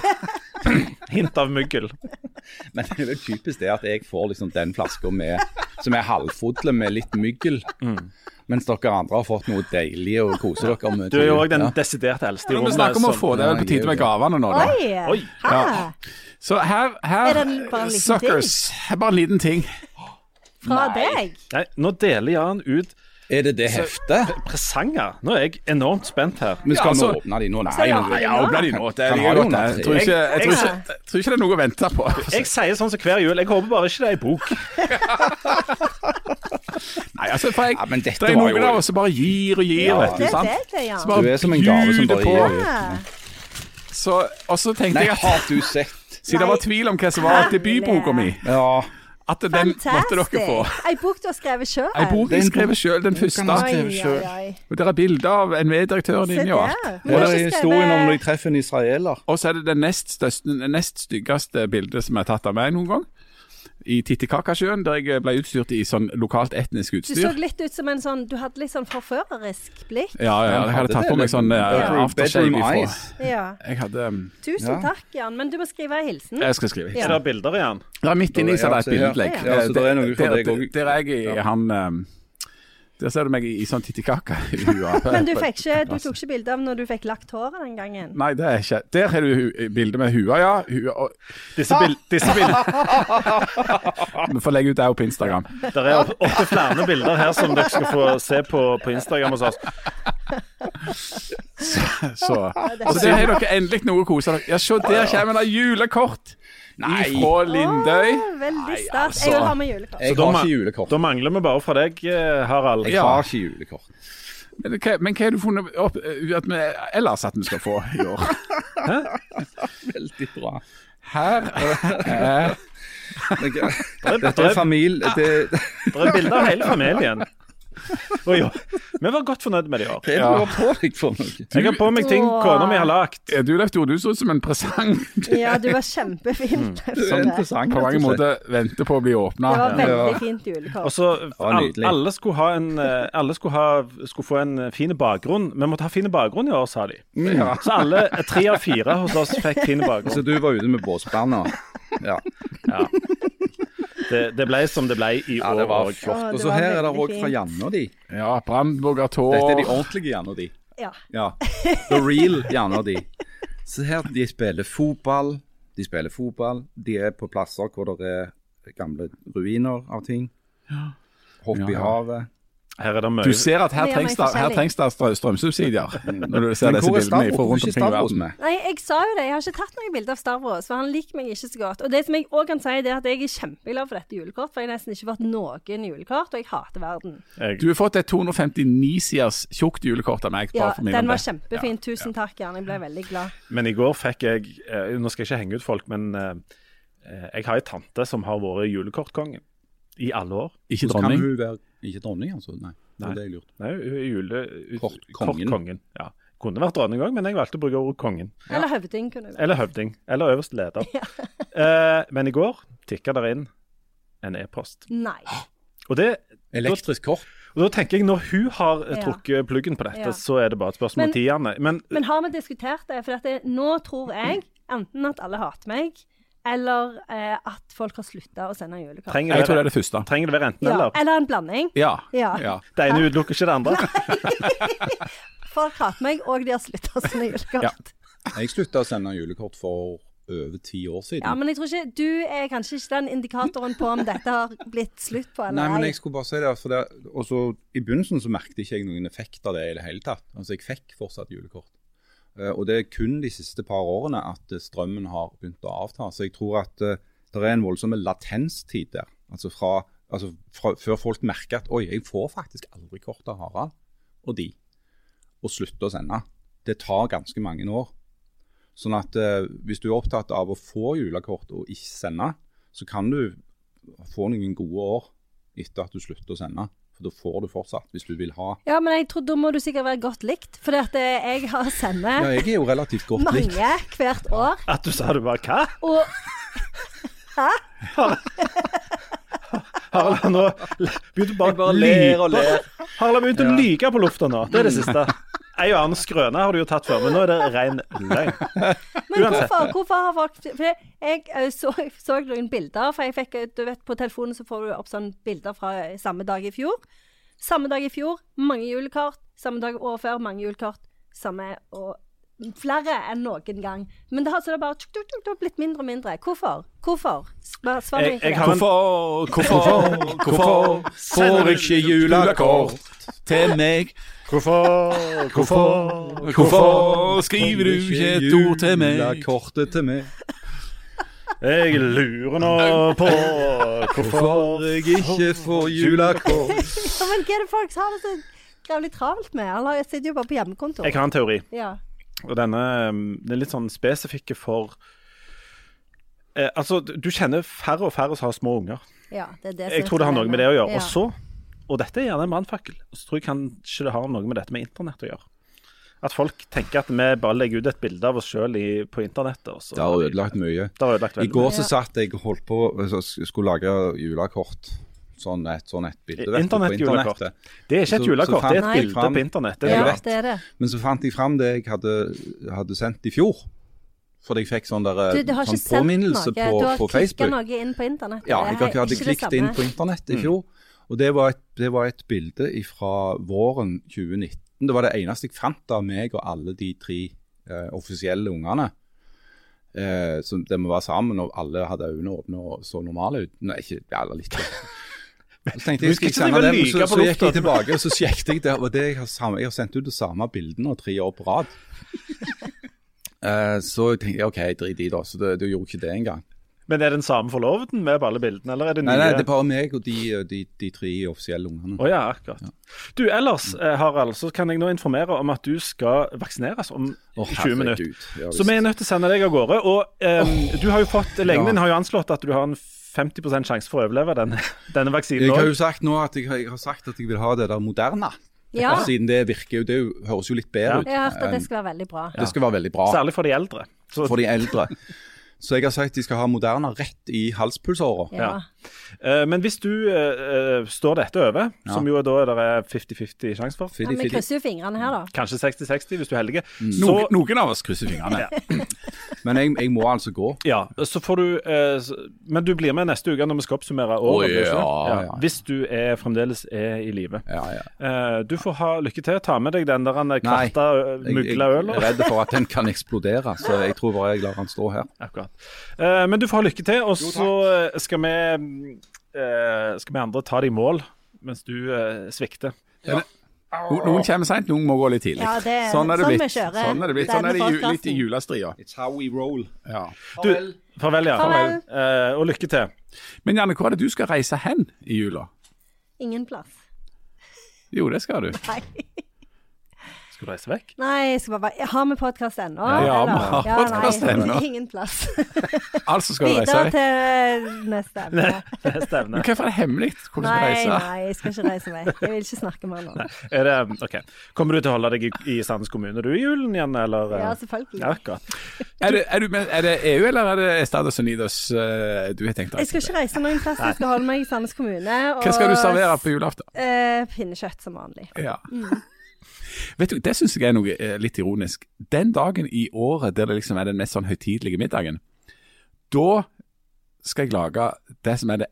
Speaker 2: hint av myggel?
Speaker 4: Men det er vel typisk det at jeg får liksom den flaska med- som er halvfodle med litt myggel.
Speaker 3: Mm.
Speaker 4: Mens dere andre har fått noe deilig å kose dere med.
Speaker 2: Du er jo òg den
Speaker 4: Ja.
Speaker 2: desidert eldste i
Speaker 3: Når vi
Speaker 2: rommet.
Speaker 3: snakker om å
Speaker 2: som-
Speaker 3: få det,
Speaker 4: sånn.
Speaker 3: er det på tide med gavene nå, da.
Speaker 1: Oi!
Speaker 2: Oi.
Speaker 1: Hæ?
Speaker 3: Så her, her
Speaker 1: Er det bare en liten
Speaker 3: Suckers. Bare en liten ting.
Speaker 1: Fra deg?
Speaker 2: Nei, nå deler Jan ut
Speaker 4: Er det det heftet?
Speaker 2: presanger. Nå er jeg enormt spent her.
Speaker 4: Vi
Speaker 3: Ja,
Speaker 4: skal
Speaker 3: altså-
Speaker 4: nå åpne de nå, nei.
Speaker 1: ja,
Speaker 4: men-
Speaker 1: ja, åpne
Speaker 3: de nå. Det
Speaker 4: er like godt, det.
Speaker 3: Jeg tror ikke, jeg tror ikke, jeg tror ikke det er noe å vente på.
Speaker 2: Jeg sier sånn som hver jul. Jeg håper bare ikke det er ei bok.
Speaker 3: Nei, altså, for jeg,
Speaker 4: Ja, men dette
Speaker 3: det er
Speaker 4: var
Speaker 3: noen
Speaker 4: jo-
Speaker 3: av oss som bare gir og gir,
Speaker 4: Ja,
Speaker 3: vet du.
Speaker 1: Det er
Speaker 3: sant?
Speaker 1: deg, det, Jan.
Speaker 3: Så bare
Speaker 4: Du er som en gave som
Speaker 3: bjuder
Speaker 4: bare
Speaker 3: på.
Speaker 4: gir.
Speaker 1: Ja.
Speaker 3: Så, og så tenkte
Speaker 4: Nei,
Speaker 3: jeg at
Speaker 4: har du sett?
Speaker 3: siden det var tvil om hva som var debutboka mi,
Speaker 4: Ja.
Speaker 3: at den måtte dere få.
Speaker 1: Ei bok du har skrevet sjøl.
Speaker 3: Ei bok
Speaker 4: Den
Speaker 3: jeg skrev sjøl, den
Speaker 4: kan man
Speaker 3: første.
Speaker 4: skrive.
Speaker 1: Oi, oi,
Speaker 4: selv.
Speaker 1: oi.
Speaker 3: Og der er bilde av NV-direktøren
Speaker 1: Se
Speaker 3: din og alt.
Speaker 1: der.
Speaker 4: Eller
Speaker 1: Ikke
Speaker 4: historien om
Speaker 1: skrevet-
Speaker 4: når de treffer en israeler.
Speaker 3: Og så er det det nest, største, det nest styggeste bildet som er tatt av meg noen gang. I Titicacasjøen, der jeg ble utstyrt i sånn lokalt etnisk
Speaker 1: Du så
Speaker 3: utstyr.
Speaker 1: litt ut som en sånn Du hadde litt sånn forførerisk blikk.
Speaker 3: Ja, ja, jeg hadde tatt på meg sånn eh,
Speaker 4: Bedroom-
Speaker 3: aftershave
Speaker 4: bedroom
Speaker 3: ifra.
Speaker 4: eyes.
Speaker 1: Ja.
Speaker 3: Jeg hadde um,
Speaker 1: Tusen
Speaker 4: Ja.
Speaker 1: takk, Jan. Men du må skrive ei hilsen.
Speaker 3: Jeg skal skrive.
Speaker 2: Er det bilder igjen?
Speaker 3: Ja, midt inni så er det
Speaker 4: Ja, så-
Speaker 3: et bildlegg.
Speaker 1: ja,
Speaker 4: ja, så det er noe for
Speaker 3: Der-
Speaker 4: deg også.
Speaker 3: Der er jeg i han um, Der ser du meg i, i sånn Titicaca-hua.
Speaker 1: Men du, fikk ikke, du tok ikke bilde av når du fikk lagt håret den gangen.
Speaker 3: Nei, det er ikke Der har du hu- bildet med hua, ja. Hua, og,
Speaker 2: Disse, bil disse bildene
Speaker 3: vi får legge ut det også på Instagram.
Speaker 2: Det er of- ofte flere bilder her som dere skal få se på, på Instagram hos oss.
Speaker 3: Så, og så der har dere endelig noe å kose dere Ja, se, der kommer det julekort!
Speaker 4: Nei.
Speaker 3: Fra Lindøy.
Speaker 1: Å, veldig
Speaker 3: Nei,
Speaker 1: stas.
Speaker 3: altså.
Speaker 1: Jeg vil ha med julekort.
Speaker 4: Jeg
Speaker 2: da
Speaker 4: har
Speaker 2: ma-
Speaker 4: ikke julekort.
Speaker 2: Da mangler vi bare fra deg, eh, Harald.
Speaker 4: Jeg har ikke julekort.
Speaker 3: Men hva, men hva har du funnet opp eh, ut at vi ellers at vi skal få i år?
Speaker 4: Veldig bra.
Speaker 3: Her eh, er
Speaker 4: Men hva-
Speaker 2: Det er-
Speaker 4: Dette er familie... Det,
Speaker 2: Det er bilder av hele familien. Oi, oi. vi var godt fornøyd med det i år.
Speaker 4: det er noe på deg for noe.
Speaker 2: Jeg har på meg ting
Speaker 1: Åh.
Speaker 2: kona mi har lagd.
Speaker 3: Er du, Leif Tore, du så ut som en presang.
Speaker 1: Ja, du var kjempefin.
Speaker 4: Det er
Speaker 1: Løfte.
Speaker 4: interessant.
Speaker 3: På mange
Speaker 4: rett og slett.
Speaker 3: måter venter på å bli åpna.
Speaker 1: Det var
Speaker 4: Ja.
Speaker 1: veldig fint
Speaker 2: Og
Speaker 1: julekort.
Speaker 2: så
Speaker 4: var
Speaker 2: all,
Speaker 4: nydelig.
Speaker 2: Alle skulle ha en eh, Alle skulle, ha, skulle få en eh, fin bakgrunn. Vi måtte ha fin bakgrunn i år, sa de.
Speaker 4: Ja.
Speaker 2: Så alle eh, tre av fire hos oss fikk fin
Speaker 4: Så
Speaker 2: bakgrunn.
Speaker 4: Mm. Altså, du var ute med båsbanda? Ja.
Speaker 2: Det, det ble som det ble i
Speaker 4: Ja,
Speaker 2: år
Speaker 4: det
Speaker 2: òg.
Speaker 4: var
Speaker 1: Å,
Speaker 4: flott.
Speaker 1: det
Speaker 4: Og så
Speaker 1: var
Speaker 4: her er det
Speaker 1: veldig
Speaker 4: òg fra
Speaker 1: fint.
Speaker 4: Janne og de.
Speaker 3: Ja, Brandburger tå.
Speaker 4: Dette er de ordentlige Janne og de.
Speaker 1: Ja.
Speaker 4: Ja. The real Janne og de. Så her, de spiller fotball. De spiller fotball. De er på plasser hvor det er gamle ruiner av ting. Hopp
Speaker 3: Ja,
Speaker 4: i
Speaker 3: ja.
Speaker 4: havet.
Speaker 2: Her er det
Speaker 3: Du
Speaker 2: mye
Speaker 3: ser at her
Speaker 1: Det gjør
Speaker 3: trengs
Speaker 1: meg
Speaker 3: det, her
Speaker 1: forskjellig.
Speaker 3: trengs det strø- strømsubsidier. Når du ser
Speaker 4: Men
Speaker 3: disse
Speaker 4: hvor er
Speaker 3: bildene
Speaker 4: Stavros?
Speaker 3: fra rundt
Speaker 4: Hvorfor er ikke
Speaker 3: omkring i
Speaker 4: Stavros
Speaker 3: verden.
Speaker 4: med?
Speaker 1: Nei, jeg sa jo det. Jeg har ikke tatt noen bilder av Stavros, for han liker meg ikke så godt. Og det som jeg òg kan si, det er at jeg er kjempeglad for dette julekort, for jeg har nesten ikke fått noen julekort, og jeg hater verden.
Speaker 2: Jeg-
Speaker 3: Du har fått et 259-siders tjukt julekort av meg.
Speaker 1: Ja,
Speaker 3: bare for min
Speaker 1: den var
Speaker 3: del.
Speaker 1: kjempefin. Tusen takk, Jan. Jeg ble veldig glad.
Speaker 2: Men i går fikk jeg eh, Nå skal jeg ikke henge ut folk, men eh, eh, jeg har ei tante som har vært julekortkonge i alle år.
Speaker 3: Ikke
Speaker 4: Kan
Speaker 3: dronning.
Speaker 4: hun være Ikke dronning, altså? Nei. Det
Speaker 2: Nei.
Speaker 4: er det jeg lurte på.
Speaker 2: Nei, hun er jule... ut-
Speaker 4: Kortkongen.
Speaker 2: Kortkongen. Ja. Kunne vært dronning òg, men jeg valgte å bruke ordet kongen.
Speaker 1: Eller høvding kunne det vært.
Speaker 2: Eller høvding. Eller øverste leder. Eh, men i går tikka der inn en e-post.
Speaker 1: Nei.
Speaker 2: Og, det-
Speaker 5: Elektrisk kopp.
Speaker 2: og da tenker jeg, når hun har eh,
Speaker 1: Ja.
Speaker 2: trukket pluggen på dette,
Speaker 1: Ja.
Speaker 2: så er det bare et spørsmål
Speaker 1: Men-
Speaker 2: om tidene. Men
Speaker 1: Men har vi diskutert det? For at det, nå tror jeg enten at alle hater meg, eller eh, at folk har slutta å sende julekort.
Speaker 2: trenger
Speaker 3: Jeg
Speaker 2: det
Speaker 3: tror det
Speaker 2: være,
Speaker 3: er det første.
Speaker 2: trenger det være enten
Speaker 1: Ja,
Speaker 2: eller?
Speaker 1: eller en blanding.
Speaker 3: Ja.
Speaker 1: Ja.
Speaker 3: ja.
Speaker 2: Det ene utelukker ikke det andre.
Speaker 1: Folk hater meg, og de har slutta å sende julekort.
Speaker 3: Ja.
Speaker 1: Ja.
Speaker 4: Jeg slutta å sende julekort for over ti år siden.
Speaker 1: men jeg tror ikke, Du er kanskje ikke den indikatoren på om dette har blitt slutt på
Speaker 4: Nei,
Speaker 1: eller
Speaker 4: men jeg skulle bare si det, for det og så I begynnelsen så merket ikke jeg noen effekt av det i det hele tatt. Altså, jeg fikk fortsatt julekort. Eh, og det er kun de siste par årene at eh, strømmen har begynt å avta. Så jeg tror at eh, det er en voldsom latenstid der. Altså fra, altså fra før folk merker at Oi, jeg får faktisk aldri kort av Harald og de. Og slutter å sende. Det tar ganske mange år. Sånn at eh, hvis du er opptatt av å få julekort og ikke sende, så kan du få noen gode år etter at du slutter å sende. For da får du fortsatt, hvis du vil ha.
Speaker 1: Ja, men jeg tror da må du sikkert være godt likt, for at eh, jeg har sender
Speaker 4: Ja, jeg er jo relativt godt likt.
Speaker 1: mange hvert år.
Speaker 2: At du sa du bare hva?
Speaker 1: Og
Speaker 2: Harald har nå begynt å bare,
Speaker 5: Jeg bare ler og
Speaker 2: lyge.
Speaker 5: ler.
Speaker 2: Harald har begynt å lyge på lufta nå. Det er det siste. Ei og annen skrøne har du jo tatt før, men nå er det ren løgn.
Speaker 1: Men
Speaker 2: Uansett.
Speaker 1: hvorfor, hvorfor har folk For jeg eh, så, så noen bilder, for jeg fikk eh, Du vet, på telefonen så får du opp sånne bilder fra eh, samme dag i fjor. Samme dag i fjor, mange julekort. Samme dag året før, mange julekort. Samme og flere enn noen gang. Men det har så det bare tuk, tuk, tuk, tuk, blitt mindre og mindre. Hvorfor? Hvorfor? Svar, svar meg
Speaker 2: Jeg- jeg
Speaker 1: ikke.
Speaker 2: har
Speaker 1: det.
Speaker 2: en-
Speaker 3: Hvorfor, hvorfor, hvorfor får ikke julekort til meg?
Speaker 2: Hvorfor?
Speaker 3: Hvorfor, hvorfor skriver du ikke et ord til meg?
Speaker 4: Julekortet til meg.
Speaker 2: Jeg lurer nå på hvorfor
Speaker 4: Hvorfor jeg ikke får julekort.
Speaker 1: Ja, men hva er det folk har det så grævlig travelt med? Eller jeg sitter jo bare på hjemmekontor.
Speaker 2: Jeg har en teori,
Speaker 1: Ja.
Speaker 2: og denne um, den er litt sånn spesifikke for eh, Altså, du kjenner færre og færre som har små unger.
Speaker 1: ja, det er det
Speaker 2: Jeg
Speaker 1: som er
Speaker 2: tror det har noe med det å gjøre.
Speaker 1: Ja.
Speaker 2: Og så, og dette er gjerne en brannfakkel, så tror jeg kanskje det har noe med dette med internett å gjøre. At folk tenker at vi bare legger ut et bilde av oss sjøl på internettet. Og så,
Speaker 4: Det har ødelagt mye.
Speaker 2: Det har ødelagt
Speaker 4: I
Speaker 2: veldig
Speaker 4: går
Speaker 2: mye.
Speaker 4: så satt jeg og holdt på så skulle lage julekort. Sånn et, sånn et bilde. vet du, på
Speaker 2: Internettjulekort.
Speaker 4: internettet.
Speaker 2: Det er ikke
Speaker 4: så-
Speaker 2: et
Speaker 4: så
Speaker 2: julekort, det er
Speaker 4: fant
Speaker 2: et
Speaker 1: jeg
Speaker 2: bilde
Speaker 4: fram-
Speaker 2: på internett. Det
Speaker 1: Ja,
Speaker 2: er jo
Speaker 4: Ja.
Speaker 2: rett.
Speaker 1: det er det.
Speaker 4: Men så fant jeg fram det jeg hadde, hadde sendt i fjor. Fordi jeg fikk sånn, der,
Speaker 3: eh,
Speaker 1: Du, du har
Speaker 4: sånn
Speaker 1: ikke sendt
Speaker 4: påminnelse
Speaker 1: noe.
Speaker 4: på,
Speaker 1: du har
Speaker 4: på
Speaker 1: klikket
Speaker 4: Facebook.
Speaker 1: noe inn på internett. Det er
Speaker 4: Ja, jeg hadde, hadde
Speaker 1: ikke det
Speaker 4: klikket inn
Speaker 1: samme.
Speaker 4: på internett
Speaker 2: Mm.
Speaker 4: i fjor. Og det var, et, det var et bilde fra våren 2019. Det var det eneste jeg fant av meg og alle de tre eh, offisielle ungene. Eh, så de var sammen, og alle hadde øynene åpne og så normale ut. Nei, ikke ja, eller litt. Så tenkte
Speaker 2: Du
Speaker 4: jeg
Speaker 2: skal ikke
Speaker 4: skal jeg sende
Speaker 2: drive og
Speaker 4: dem,
Speaker 2: lyge på
Speaker 4: så, så gikk
Speaker 2: lufta.
Speaker 4: jeg tilbake og så sjekket jeg det. Og det jeg, har samme, jeg har sendt ut de samme bildene tre år på rad. Eh, så jeg tenkte jeg OK, drit i det. Så det- du gjorde ikke det engang.
Speaker 2: Men er det den samme forloveden med på alle bildene, eller er det nye?
Speaker 4: Nei, nei, det er bare meg og de, de, de tre offisielle ungene.
Speaker 2: Å ja, akkurat. Du, ellers, eh, Harald, så kan jeg nå informere om at du skal vaksineres om
Speaker 4: Å,
Speaker 2: 20 minutter.
Speaker 4: herregud. Ja,
Speaker 2: Så vi er nødt til å sende deg av gårde. Og eh, du har jo fått, legen din har jo anslått at du har en 50 sjanse for å overleve denne, denne vaksinen
Speaker 4: Jeg har
Speaker 2: òg.
Speaker 4: jo sagt nå at jeg, har- jeg har sagt at jeg vil ha det der Moderna.
Speaker 1: Ja,
Speaker 4: Og Siden det virker jo, det er jo- høres jo litt bedre
Speaker 2: Ja.
Speaker 4: ut.
Speaker 1: jeg har hørt at det
Speaker 4: enn-
Speaker 1: skal være veldig bra.
Speaker 4: det skal være veldig bra
Speaker 2: Særlig for de eldre. Så,
Speaker 4: for de eldre. Så jeg har sagt de skal ha Moderna rett i halspulsåra.
Speaker 1: Ja.
Speaker 2: Ja. eh, men hvis du eh, eh, står dette over, som jo da er det 50-50 sjanse for,
Speaker 1: Ja, vi krysser jo fingrene her, da.
Speaker 2: kanskje 60-60 hvis du er heldig, så,
Speaker 3: Noen, noen av oss krysser fingrene.
Speaker 4: Men jeg, jeg må altså gå.
Speaker 2: ja, så får du eh, s- Men du blir med neste uke når vi skal oppsummere året.
Speaker 3: Å,
Speaker 2: blir du ikke det?
Speaker 3: ja,
Speaker 2: Ja, hvis du er, fremdeles er i live.
Speaker 4: Ja, ja.
Speaker 2: Eh, du får ha lykke til. Ta med deg den der han, eh,
Speaker 4: Nei,
Speaker 2: kvarta eh,
Speaker 4: Jeg, jeg
Speaker 2: mugla øl.
Speaker 4: er redd for at den kan eksplodere, så jeg tror bare jeg lar den stå her.
Speaker 2: Akkurat. Eh, men du får ha lykke til, og så eh, skal vi eh, Skal vi andre ta det i mål mens du eh, svikter.
Speaker 3: No- Noen kommer seint, noen må gå litt tidlig.
Speaker 1: Ja, det er-
Speaker 3: sånn er det
Speaker 1: sånn
Speaker 3: blitt.
Speaker 1: vi kjører
Speaker 3: Sånn er det blitt.
Speaker 1: denne
Speaker 3: Sånn er det ju,
Speaker 1: podcasten.
Speaker 3: litt i julestria.
Speaker 4: It's how we roll.
Speaker 3: Ja.
Speaker 2: Du, farvel, ja.
Speaker 1: Farvel.
Speaker 2: Eh, og lykke til.
Speaker 3: Men Janne, hvor er det du skal reise hen i jula?
Speaker 1: Ingen plass.
Speaker 3: Jo, det skal du.
Speaker 1: Nei.
Speaker 2: Skal du reise vekk?
Speaker 1: Nei, jeg skal bare være Har vi podkast ennå?
Speaker 3: Ja, vi
Speaker 1: eller?
Speaker 3: har podcast
Speaker 1: nei,
Speaker 3: ennå.
Speaker 1: Ingen plass.
Speaker 3: Altså skal du reise
Speaker 1: Videre
Speaker 3: vekk.
Speaker 1: til eh, neste emne.
Speaker 2: Det er stevne.
Speaker 3: Men Hvorfor er det hemmelig hvor du skal
Speaker 1: Nei,
Speaker 3: reise?
Speaker 1: nei, jeg skal ikke reise vekk. Jeg vil ikke snakke mer nå.
Speaker 2: Er det, ok. Kommer du til å holde deg i, i Sandnes kommune du i julen igjen, eller? eh?
Speaker 1: Ja, selvfølgelig.
Speaker 2: Ja, akkurat.
Speaker 3: Er, du, er, du, med- er det EU eller er det Estados Unidos eh, du har tenkt deg?
Speaker 1: Jeg skal ikke reise noen plass, jeg skal holde meg i Sandnes kommune. Og,
Speaker 3: Hva skal du servere på julaften?
Speaker 1: Eh, pinnekjøtt som vanlig.
Speaker 3: Ja. Vet du, Det syns jeg er noe eh, litt ironisk. Den dagen i året der det liksom er den mest sånn høytidelige middagen, da skal jeg lage det som er det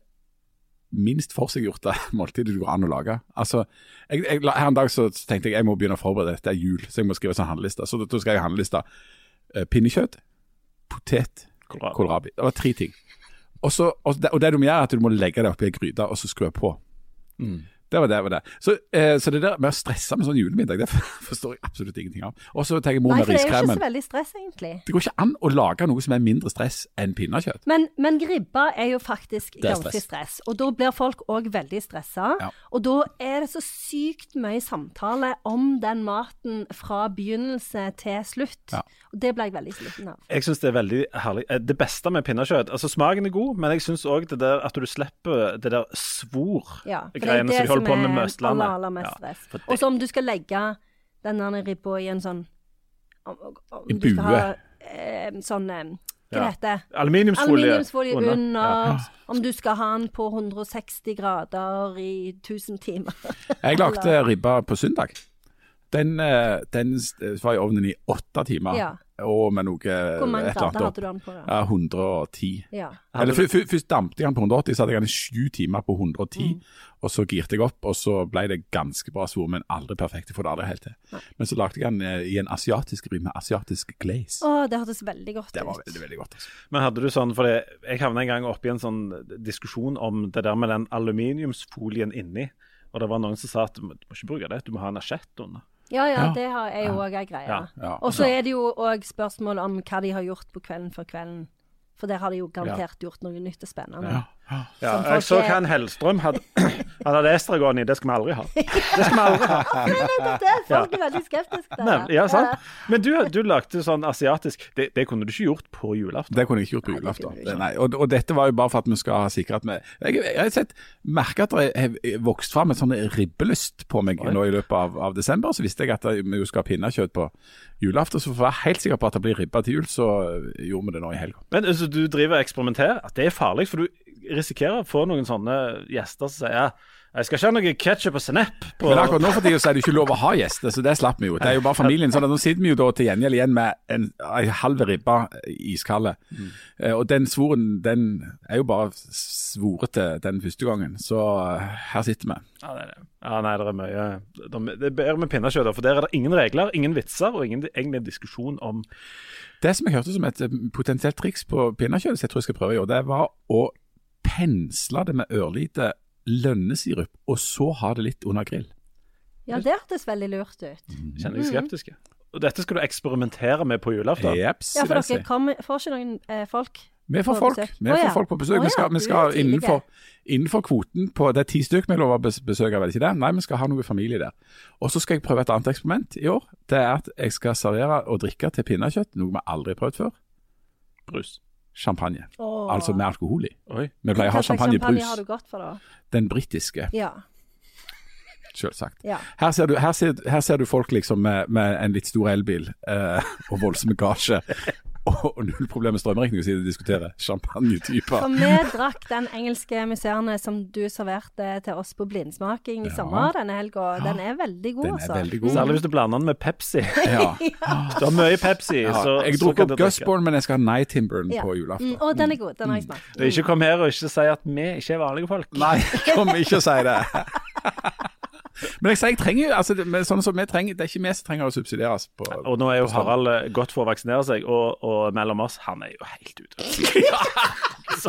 Speaker 3: minst forseggjorte måltidet det går an å lage. Altså, jeg, jeg, la- her en dag så tenkte jeg jeg må begynne å forberede dette er jul, så jeg må skrive sånn handleliste. Så da da skal jeg ha handleliste. Eh, Pinnekjøtt, potet,
Speaker 2: Kålrabi.
Speaker 3: kålrabi. Det var tre ting. Og, så, og, det, og det du må gjøre, er at du må legge det oppi ei gryte og så skru på. Det var det. var det. Så, eh, så det der med å stresse med sånn julemiddag, det forstår jeg absolutt ingenting av. Og så tenker jeg mor
Speaker 1: Nei,
Speaker 3: med
Speaker 1: for det er jo ikke
Speaker 3: riskremen.
Speaker 1: så veldig stress, egentlig.
Speaker 3: Det går ikke an å lage noe som er mindre stress enn pinnekjøtt.
Speaker 1: Men, men ribba er jo faktisk
Speaker 3: er
Speaker 1: ganske
Speaker 3: stress.
Speaker 1: stress, og da blir folk òg veldig stressa.
Speaker 3: Ja.
Speaker 1: Og da er det så sykt mye samtale om den maten fra begynnelse til slutt.
Speaker 3: Ja.
Speaker 1: Og det ble jeg veldig sliten av.
Speaker 2: Jeg syns det er veldig herlig. Eh, Det beste med pinnekjøtt Altså, smaken er god, men jeg syns òg det der at du slipper det der
Speaker 1: Ja, for det er
Speaker 2: svor-greiene
Speaker 1: det
Speaker 2: som de
Speaker 1: som
Speaker 2: holder på med
Speaker 1: er
Speaker 2: med
Speaker 1: aller,
Speaker 2: Østlandet.
Speaker 1: aller mest
Speaker 2: Ja,
Speaker 1: stress.
Speaker 2: for det-
Speaker 1: Og så om du skal legge den der ribba i en sånn om, om
Speaker 3: I
Speaker 1: du skal ha,
Speaker 3: bue.
Speaker 1: eh, sånn eh, Hva
Speaker 2: Ja.
Speaker 1: heter det?
Speaker 2: Aluminiumsfolie.
Speaker 1: Aluminiumsfolie under.
Speaker 2: Ja.
Speaker 1: Om du skal ha den på 160 grader i 1000 timer.
Speaker 3: Jeg lagde ribba på søndag. Den, eh, den s- var i ovnen i åtte timer,
Speaker 1: Ja.
Speaker 3: og med noe et
Speaker 1: Hvor mange
Speaker 3: eller annet
Speaker 1: grader hadde
Speaker 3: opp.
Speaker 1: du den på? da?
Speaker 3: Ja, 110.
Speaker 1: Ja.
Speaker 3: Eller fø- fø- Først dampte jeg den på 180, så hadde jeg den i sju timer på 110.
Speaker 1: Mm.
Speaker 3: Og så girte jeg opp, og så ble det ganske bra svor, men aldri perfekt. Jeg får det aldri helt til. Men så lagde jeg den eh, i en asiatisk ribbe med asiatisk glaze.
Speaker 1: Å, det hørtes veldig godt
Speaker 3: Det var
Speaker 1: ut.
Speaker 3: veldig, veldig godt. Altså.
Speaker 2: Men hadde du sånn, for det, jeg havna en gang oppi en sånn diskusjon om det der med den aluminiumsfolien inni. Og det var noen som sa at du må du må ikke bruke det, du må ha en asjett under.
Speaker 1: Ja, ja,
Speaker 3: Ja.
Speaker 1: det har- er jo òg ei greie.
Speaker 2: Ja,
Speaker 3: ja. altså-
Speaker 1: Og så er det jo òg spørsmål om hva de har gjort på kvelden før kvelden. For der har de jo garantert gjort noe nytt og spennende.
Speaker 2: Ja,
Speaker 1: Som
Speaker 2: jeg
Speaker 1: folk
Speaker 2: så
Speaker 1: er-
Speaker 2: hva en Hellstrøm hadde. Han hadde estragon i, det skal vi aldri ha.
Speaker 1: Nettopp det! Folk er veldig skeptiske til
Speaker 2: Nei, ja, sant? Men du, du lagde sånn asiatisk Det, det kunne du ikke gjort på julaften.
Speaker 3: Det kunne jeg ikke gjort på julaften.
Speaker 1: kunne du
Speaker 3: Det- Nei, og, og dette var jo bare for at vi skal ha sikre at vi Jeg jeg har sett, merket at det har vokst fram en sånn ribbelyst på meg nå i løpet av, av desember. Så visste jeg at vi jo skal ha pinnekjøtt på julaften, så for å være helt sikker på at det blir ribba til jul, så eh, gjorde vi det nå i helga.
Speaker 2: Men altså, du driver og eksperimenterer. At det er farlig, for du risikerer å få noen sånne gjester som sier ja, jeg skal ikke ha noe ketsjup og sennep på
Speaker 3: Men akkurat nå for tida så er det jo ikke lov å ha gjester, så det slapp vi jo. Det er jo bare familien. Så nå sitter vi jo da til gjengjeld igjen med en, en halv ribbe iskalde. Eh, Og den svoren, den er jo bare svorete den første gangen. Så eh, her sitter vi.
Speaker 2: Ja, det er det. Ja, nei, det er mye Det er bedre med pinnekjøtt, da, for der er det ingen regler, ingen vitser og ingen egentlig diskusjon om
Speaker 3: Det som jeg hørte som et eh, potensielt triks på pinnekjøtt, som jeg tror jeg skal prøve i år, det var å pensle det med ørlite lønnesirup, og så ha det litt under grill.
Speaker 1: Ja, det hørtes veldig lurt ut.
Speaker 3: Mm.
Speaker 2: Kjenner de skeptiske. Og dette skal du eksperimentere med på julaften.
Speaker 3: Jeps,
Speaker 1: Ja, for
Speaker 3: det ser
Speaker 1: dere
Speaker 3: jeg.
Speaker 1: kommer- får ikke noen eh, folk?
Speaker 3: Vi får
Speaker 1: på
Speaker 3: folk,
Speaker 1: besøk.
Speaker 3: vi
Speaker 1: Å
Speaker 3: får
Speaker 1: ja.
Speaker 3: folk på besøk.
Speaker 1: Å
Speaker 3: Vi
Speaker 1: ja,
Speaker 3: skal,
Speaker 1: du
Speaker 3: vi
Speaker 1: er
Speaker 3: skal
Speaker 1: tidlig.
Speaker 3: innenfor, innenfor kvoten på Det er ti stykk vi lover å bes- besøke, vel ikke det? Nei, vi skal ha noe familie der. Og så skal jeg prøve et annet eksperiment i år. Det er at jeg skal servere og drikke til pinnekjøtt, noe vi aldri har prøvd før,
Speaker 2: Brus.
Speaker 3: champagne.
Speaker 1: Åh.
Speaker 3: Altså med alkohol i.
Speaker 2: Oi.
Speaker 3: Vi pleier å
Speaker 1: Hva
Speaker 3: ha
Speaker 1: slags champagne har
Speaker 3: champagnebrus.
Speaker 1: du gått for, da?
Speaker 3: Den britiske,
Speaker 1: Ja.
Speaker 3: selvsagt.
Speaker 1: ja.
Speaker 3: Her ser, du, her, ser, her ser du folk liksom med, med en litt stor elbil eh, og voldsom gasje. Og, og null problem med strømregning, siden de diskuterer champagnetyper.
Speaker 1: For vi drakk den engelske museerne som du serverte til oss på blindsmaking i
Speaker 3: Ja.
Speaker 1: sommer denne helga. Den er veldig god,
Speaker 3: Den er
Speaker 1: altså.
Speaker 3: veldig god.
Speaker 2: Særlig hvis du blander den med Pepsi.
Speaker 3: Ja.
Speaker 2: Du har mye Pepsi,
Speaker 3: Ja,
Speaker 2: så
Speaker 3: jeg
Speaker 2: så kan
Speaker 3: drukker opp
Speaker 2: du drikke.
Speaker 3: Gusborn, men jeg skal ha Night Timberen
Speaker 1: Ja.
Speaker 3: på julaften.
Speaker 1: Mm, og den er god. Den har jeg smakt.
Speaker 2: Og Ikke kom her og ikke si at vi ikke er vanlige folk.
Speaker 3: Nei, jeg kommer ikke å si det. Men jeg sier jeg trenger jo altså, det- men sånn som vi trenger, Det er ikke vi som trenger å subsidieres på
Speaker 2: Og nå er jo Harald eh, godt for å vaksinere seg, og, og mellom oss, han er jo helt ute.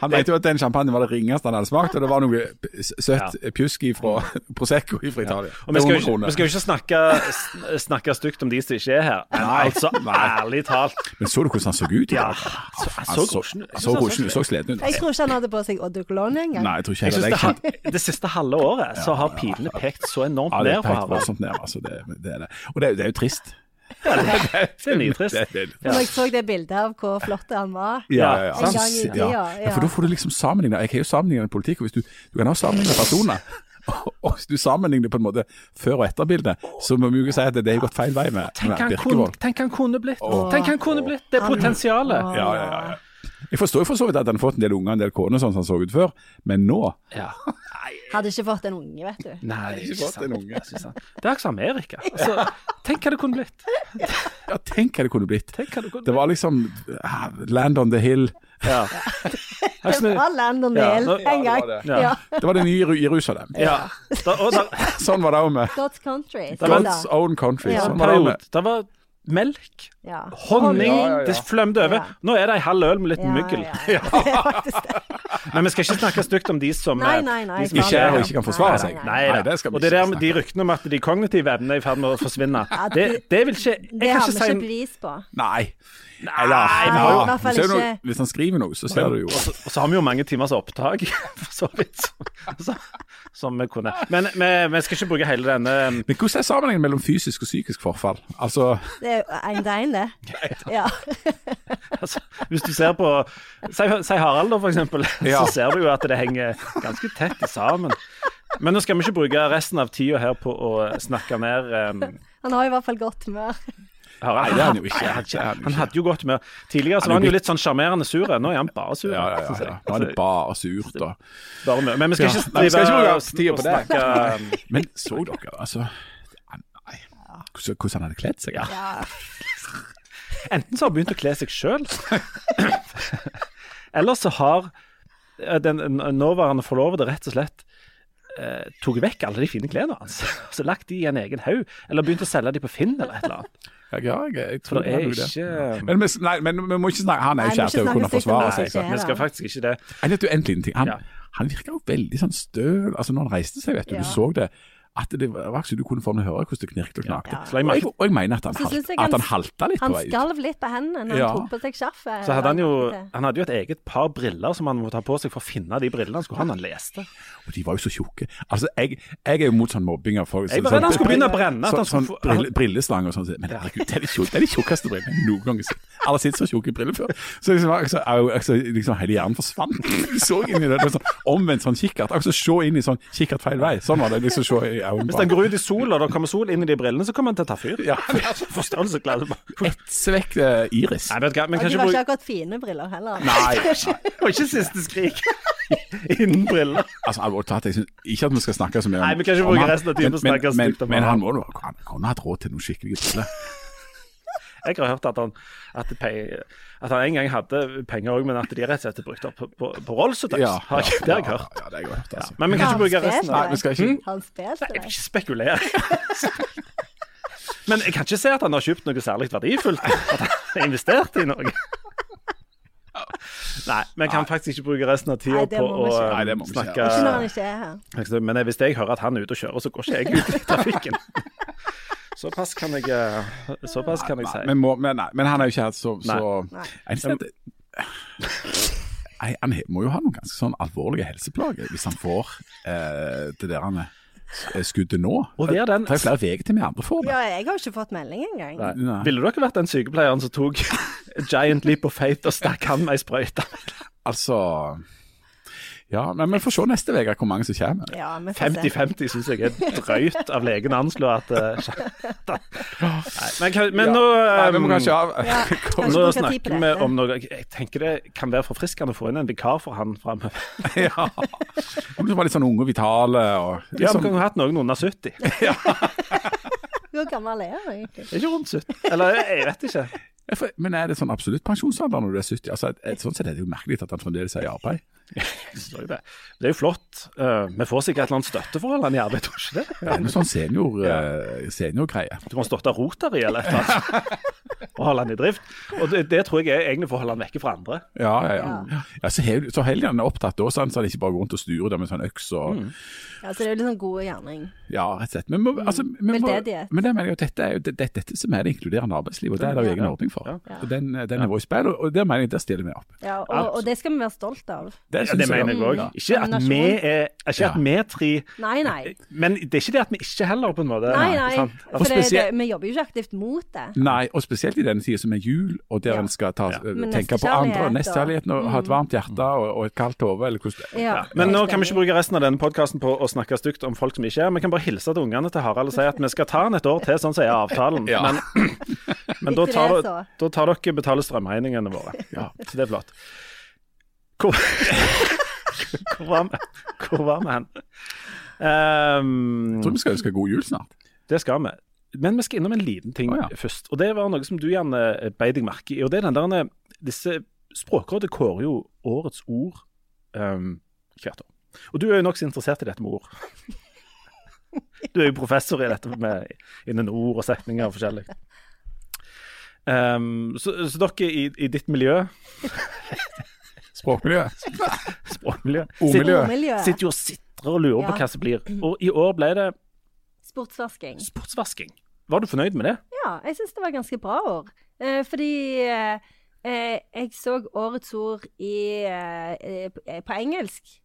Speaker 3: Han vet jo at den champagnen var det ringeste han hadde smakt, og det var noe p- s- søtt pjusk fra Prosecco fra Italia.
Speaker 2: Og vi skal, jo
Speaker 3: Det er 100
Speaker 2: ikke,
Speaker 3: kroner.
Speaker 2: vi skal jo ikke snakke, sn- snakke stygt om de som ikke er her, men
Speaker 3: Nei.
Speaker 2: altså,
Speaker 3: Nei.
Speaker 2: ærlig talt
Speaker 3: Men så du hvordan han så ut? i
Speaker 2: Ja,
Speaker 3: dag?
Speaker 2: så- han
Speaker 3: Han
Speaker 2: så
Speaker 3: så
Speaker 2: godsjen ut.
Speaker 3: han så godsjen ut. Så sliten ut.
Speaker 1: Jeg tror ikke han hadde på seg Oddekolon engang.
Speaker 3: Nei, jeg tror ikke
Speaker 2: jeg synes det,
Speaker 3: heller det. Jeg kan-
Speaker 2: had- det siste halve året så har pilene pekt så enormt
Speaker 3: Ja, det
Speaker 2: ned
Speaker 3: er
Speaker 2: på
Speaker 3: pekt
Speaker 2: Harald.
Speaker 3: voldsomt ned, altså. Det, det er det. Og det, er- det er jo trist.
Speaker 2: Det er nitrist.
Speaker 3: Det- det-
Speaker 1: Når jeg så det bildet av hvor flott han var.
Speaker 3: Ja,
Speaker 2: Ja,
Speaker 3: ja, ja.
Speaker 1: en gang i tida,
Speaker 3: Ja.
Speaker 1: ja.
Speaker 3: ja, for da får du liksom sammenligne. Jeg har jo sammenlignet med politikk, og hvis du, du kan ha sammenlignet personer. Og- Og hvis du sammenligner på en måte før og etter bildet, så må vi jo ikke si at det det har gått feil vei med,
Speaker 2: Tenk han
Speaker 3: med
Speaker 2: kunne,
Speaker 3: Birkevold.
Speaker 2: tenk han kunne blitt. Tenk han kunne blitt. Det
Speaker 1: Åh.
Speaker 2: er potensialet.
Speaker 3: Ja, ja, ja, ja. Jeg forstår jo for så vidt at han har fått en del unger og en del koner, sånn som han så ut før, men nå
Speaker 2: Ja.
Speaker 1: Hadde ikke fått en unge, vet du.
Speaker 2: Nei, det er ikke
Speaker 3: godt,
Speaker 2: sant.
Speaker 3: en unge.
Speaker 2: Det er ikke sant. Det er ikke som Amerika. Altså, tenk hva det kunne blitt.
Speaker 3: Ja, tenk hva det kunne blitt.
Speaker 2: Tenk hva det kunne
Speaker 3: Det var liksom ah, Land on the hill.
Speaker 2: Ja.
Speaker 1: Det var land og
Speaker 2: Ja,
Speaker 1: mel
Speaker 2: nå- ja,
Speaker 1: en gang.
Speaker 3: det
Speaker 2: Ja.
Speaker 1: Ja.
Speaker 3: Det var det nye Jeru- Jerusalem.
Speaker 2: Ja. Da, og da,
Speaker 3: Sånn var det òg med
Speaker 1: God's country.
Speaker 2: var en
Speaker 3: God's own country.
Speaker 1: Ja.
Speaker 3: Sånn var det òg
Speaker 2: periode,
Speaker 3: med
Speaker 2: da var melk,
Speaker 1: Ja.
Speaker 2: honning,
Speaker 3: Ja, ja, ja.
Speaker 2: det flømte
Speaker 1: Ja.
Speaker 2: over. Nå er det ei halv øl med litt
Speaker 1: Ja,
Speaker 2: myggel.
Speaker 1: ja, ja. Det er faktisk det.
Speaker 2: Men vi skal ikke snakke stygt om de som eh,
Speaker 1: Nei, nei, nei,
Speaker 2: de som
Speaker 1: ikke
Speaker 3: Ikke er og ikke kan forsvare
Speaker 1: Nei,
Speaker 3: seg.
Speaker 1: nei,
Speaker 2: Nei, da.
Speaker 3: det skal vi
Speaker 2: og det
Speaker 3: ikke
Speaker 2: der med
Speaker 3: snakke
Speaker 2: de ryktene om at de kognitive evnene er i ferd med å forsvinne, det,
Speaker 1: det-
Speaker 2: det vil ikke Jeg
Speaker 1: Det har
Speaker 2: kan ikke
Speaker 1: vi
Speaker 2: si
Speaker 1: ikke bevis på.
Speaker 3: Nei.
Speaker 1: vi
Speaker 2: Nei,
Speaker 3: Eller,
Speaker 1: har jo-
Speaker 3: ja,
Speaker 1: i hvert fall
Speaker 3: ser du noe-
Speaker 1: ikke-
Speaker 3: Hvis han skriver noe, så ser du jo
Speaker 2: Og så, og så har vi jo mange timers opptak, for så vidt, som, som, som vi kunne. Men vi, vi skal ikke bruke hele denne um,
Speaker 3: Men hvordan er sammenhengen mellom fysisk og psykisk forfall? Altså,
Speaker 1: Det er jo en til en, det. Ja.
Speaker 2: altså, Hvis du ser på Si, si Harald, da, for eksempel,
Speaker 3: Ja.
Speaker 2: så ser du jo at det henger ganske tett sammen. Men nå skal vi ikke bruke resten av tida her på å snakke ned eh,
Speaker 1: Han har i hvert fall godt humør.
Speaker 2: Harald.
Speaker 3: Nei, det er han jo ikke.
Speaker 2: Han,
Speaker 3: Det er han jo
Speaker 2: han
Speaker 3: ikke.
Speaker 2: hadde jo godt med Tidligere så
Speaker 3: er
Speaker 2: var han jo
Speaker 3: blitt-
Speaker 2: litt sånn sjarmerende sur. Nå er han bare sur.
Speaker 3: ja, ja, ja,
Speaker 2: synes jeg.
Speaker 3: ja. Nå er det bare surt og
Speaker 2: Altså, bare med. Men vi skal
Speaker 3: Ja.
Speaker 2: ikke
Speaker 3: Nei, vi skal ikke bruke
Speaker 2: drive og
Speaker 3: tida på
Speaker 2: og
Speaker 3: det.
Speaker 2: snakke ehm,
Speaker 3: Men så dere, altså Nei. Hvordan hvordan han hadde kledd seg? Ja.
Speaker 2: Enten så har hun begynt å kle seg sjøl, eller så har eh, den n- nåværende forlovede rett og slett eh, tatt vekk alle de fine klærne hans og så lagt de i en egen haug, eller begynt å selge de på Finn eller et eller annet.
Speaker 3: Jeg, ja, jeg, jeg
Speaker 2: For
Speaker 3: tror
Speaker 2: det
Speaker 3: han
Speaker 2: er
Speaker 3: gjorde det.
Speaker 2: ikke
Speaker 3: Men, vi- nei, men vi må ikke snakke Han er
Speaker 1: Nei, vi
Speaker 3: jo
Speaker 1: må
Speaker 3: kjær til
Speaker 1: ikke
Speaker 3: å kunne
Speaker 1: snakke stygt om
Speaker 3: forsvare
Speaker 1: han
Speaker 3: seg.
Speaker 1: som skjer.
Speaker 3: sant?
Speaker 2: Vi skal faktisk ikke det.
Speaker 3: Jeg vet jo en liten ting. Han,
Speaker 2: Ja.
Speaker 3: han virka jo veldig sånn støl altså når han reiste seg, vet du.
Speaker 1: Ja.
Speaker 3: Du så det. At det var ikke så du kunne få han å høre hvordan det knirket og knakte.
Speaker 2: Ja. Så jeg
Speaker 3: Og, jeg,
Speaker 2: merket-
Speaker 3: og jeg mener at han,
Speaker 1: Så synes
Speaker 3: halt,
Speaker 1: jeg han-
Speaker 3: at han halta litt
Speaker 1: Han
Speaker 3: på vei ut.
Speaker 1: skalv litt på hendene når
Speaker 3: Ja.
Speaker 1: han tok på seg eh, skjerfet.
Speaker 2: Så hadde han jo Han hadde jo et eget par briller som han måtte ha på seg for å finne de brillene han skulle ha når han leste.
Speaker 3: Og de var jo så tjukke. Altså, jeg, jeg er jo mot sånn mobbing av folk.
Speaker 2: Jeg var redd han skulle begynne å brenne. At
Speaker 3: Sånn,
Speaker 2: han
Speaker 3: sånn
Speaker 2: skulle få,
Speaker 3: brille, brilleslang og sånn. Men herregud, det er de, tjukk- det er de tjukkeste brillene jeg noen gang har sett. Alle har sett så tjukke briller før. Så liksom, altså, au, altså, liksom hele hjernen forsvant. Jeg så inn i det. det var sånn, omvendt sånn kikkert. Altså, se inn i sånn kikkert feil vei. Sånn var det. liksom se i øynene
Speaker 2: hvis
Speaker 3: på
Speaker 2: han
Speaker 3: han.
Speaker 2: går ut i sola, og det kommer sol inn i de brillene, så kommer han til å ta fyr.
Speaker 3: Ja.
Speaker 2: Forståelsesglad. Nei,
Speaker 3: Etse vekk eh, iris.
Speaker 2: vet du hva,
Speaker 1: Og
Speaker 2: men
Speaker 1: de
Speaker 2: kanskje
Speaker 1: var
Speaker 2: bruk
Speaker 1: ikke akkurat fine briller heller.
Speaker 3: Nei.
Speaker 2: Og ikke siste skrik innen briller.
Speaker 3: Altså, alvorlig talt, jeg synes ikke at vi skal snakke så mye om
Speaker 2: Nei, vi kan ikke
Speaker 3: om
Speaker 2: bruke
Speaker 3: han.
Speaker 2: resten av tiden på å
Speaker 3: Men-
Speaker 2: snakke
Speaker 3: men-
Speaker 2: stygt om
Speaker 3: Men
Speaker 2: han.
Speaker 3: han må jo Han kunne hatt råd til noen skikkelige briller.
Speaker 2: Jeg har hørt at han, at det pe- at han en gang hadde penger òg, men at de rett og slett er brukt opp på, på, på Rolls og Tøys. Har jeg- Det har jeg hørt.
Speaker 3: Ja, det har jeg hørt, altså.
Speaker 2: Men vi kan ikke bruke
Speaker 1: Hans
Speaker 2: resten
Speaker 1: Peter.
Speaker 2: av
Speaker 3: Nei, vi skal ikke
Speaker 1: Han spilte
Speaker 2: Jeg vil
Speaker 1: det.
Speaker 2: ikke spekulere. Men jeg kan ikke se at han har kjøpt noe særlig verdifullt. At han har investert i noe. Nei, vi kan faktisk ikke bruke resten av tida
Speaker 1: Nei, det
Speaker 2: på
Speaker 1: må
Speaker 2: å
Speaker 1: vi ikke.
Speaker 3: Nei, det må vi ikke.
Speaker 2: snakke
Speaker 1: Ikke når han ikke er her.
Speaker 2: Men hvis jeg hører at han er ute og kjører, så går ikke jeg ut i trafikken. Såpass kan jeg, eh, såpass kan jeg
Speaker 3: Nei,
Speaker 2: si.
Speaker 3: Men, må, men, nei, men han er jo ikke her, så, så
Speaker 1: Nei.
Speaker 3: Jeg synes at- Nei, Han he- må jo ha noen ganske sånn alvorlige helseplager hvis han får eh, det der han er- eh, skuddet nå.
Speaker 2: Og det er den-
Speaker 3: tar jo flere uker til vi andre får det.
Speaker 1: Ja, jeg har jo ikke fått melding engang.
Speaker 2: Nei.
Speaker 3: Nei.
Speaker 2: Ville dere vært den sykepleieren som tok Giant Leap of Faith og stakk han med ei sprøyte?
Speaker 3: Altså Ja, men vi får se neste uke hvor mange som kommer.
Speaker 1: Ja, vi får se.
Speaker 2: 50-50 syns jeg er drøyt av legen å anslå at eh, Nei, men, kan- men nå
Speaker 3: Nei, vi må
Speaker 2: eh,
Speaker 3: kanskje av
Speaker 1: Ja,
Speaker 3: Kom-
Speaker 1: kanskje
Speaker 2: nå
Speaker 1: bruke tid på
Speaker 2: snakker vi
Speaker 1: dette.
Speaker 2: om noe Jeg tenker det kan være forfriskende å få inn en vikar for han framover.
Speaker 3: Ja. Om du var litt sånn unge og vitale og
Speaker 2: Ja, vi
Speaker 3: liksom,
Speaker 2: kan jo ha hatt noen under 70. Er
Speaker 1: Hvor gammel er han egentlig?
Speaker 2: ikke rundt 70. Eller jeg vet ikke.
Speaker 3: Ja, for- Men er det sånn absolutt pensjonsalder når du er 70? Altså, et- et- sånn sett er det jo merkelig at han fremdeles er i arbeid.
Speaker 2: Jeg forstår jo Det Det er jo flott. Eh, vi får sikkert et eller annet støtteforhold han i arbeid, tror du ikke det?
Speaker 3: Det er noe sånn senior, eh, seniorgreie.
Speaker 2: Du kan støtte Rotary eller et eller annet og holde han i drift. Og det, det tror jeg er egentlig for å holde han vekke fra andre.
Speaker 3: Ja, ja, ja. ja så, hel, så helgen er opptatt da, sant? så han ikke bare går rundt og sturer der med sånn øks og
Speaker 2: Mm.
Speaker 1: Ja, så det er jo litt sånn god gjerning.
Speaker 3: Ja, rett og slett. Men, må, altså, vi må,
Speaker 1: Veldedighet.
Speaker 3: men det mener jeg at dette er jo det, det, dette som er det inkluderende arbeidslivet, og det er det jo egen ordning for. eh,
Speaker 2: Ja.
Speaker 3: Og Den, den er vår spill, og og der mener jeg der stiller vi opp.
Speaker 1: Ja, og, og det skal vi være stolt av.
Speaker 3: Det Det
Speaker 2: Ja,
Speaker 3: syns
Speaker 2: det
Speaker 3: jeg.
Speaker 2: mener jeg òg.
Speaker 1: Ja.
Speaker 2: Ikke at
Speaker 1: Kombinasjon.
Speaker 2: vi er Ikke at
Speaker 3: Ja.
Speaker 2: vi tre
Speaker 1: Nei, nei.
Speaker 2: Men det er ikke det at vi ikke heller, på en måte.
Speaker 1: Nei, nei.
Speaker 2: Sant? Altså,
Speaker 1: For det, det,
Speaker 3: spesielt-
Speaker 1: vi jobber jo ikke aktivt mot det.
Speaker 3: Nei, og spesielt i denne tida som er jul, og der
Speaker 1: Ja.
Speaker 3: en skal ta, eh,
Speaker 2: Ja.
Speaker 1: Men
Speaker 3: tenke på
Speaker 1: nestekjærlighet
Speaker 3: andre,
Speaker 1: og-
Speaker 3: nestekjærligheten, og ha et varmt hjerte og, og et kaldt hode, eller hvordan
Speaker 1: Ja,
Speaker 2: Men nå
Speaker 1: helt
Speaker 2: kan vi ikke
Speaker 1: enig.
Speaker 2: bruke resten av denne podkasten på å snakke stygt om folk som ikke er Vi kan bare hilse til ungene til Harald og si at vi skal ta han et år til, sånn som er avtalen.
Speaker 3: Ja.
Speaker 2: Men, men da,
Speaker 1: Etter
Speaker 2: tar,
Speaker 1: det, så.
Speaker 2: da, da tar dere betaler strømregningene våre. Ja, så det er flott. Hvor, hvor, var, vi, hvor var vi hen? Ehm,
Speaker 3: Jeg tror vi skal ønske god jul snart.
Speaker 2: det skal vi. Men vi skal innom en liten ting
Speaker 3: Å, ja.
Speaker 2: først. Og det var noe som du gjerne eh, beit deg merke i. Og det er den der eh, Disse Språkrådet kårer jo årets ord ehm, hvert år. Og du er jo nokså interessert i dette med ord. Du er jo professor i dette med innen ord og setninger og forskjellig. Ehm, så, så dere i, i ditt miljø,
Speaker 3: Språkmiljø.
Speaker 2: språkmiljø,
Speaker 3: Ordmiljø.
Speaker 1: Ordmiljø.
Speaker 2: sitter sitter jo og sitrer og lurer
Speaker 1: Ja.
Speaker 2: på hva som blir. Og i år ble det
Speaker 1: Sportsvasking.
Speaker 2: sportsvasking. Var du fornøyd med det?
Speaker 1: Ja, jeg syns det var ganske bra år. Eh, fordi eh, eh, jeg så årets ord i, eh, eh, på- eh, på engelsk.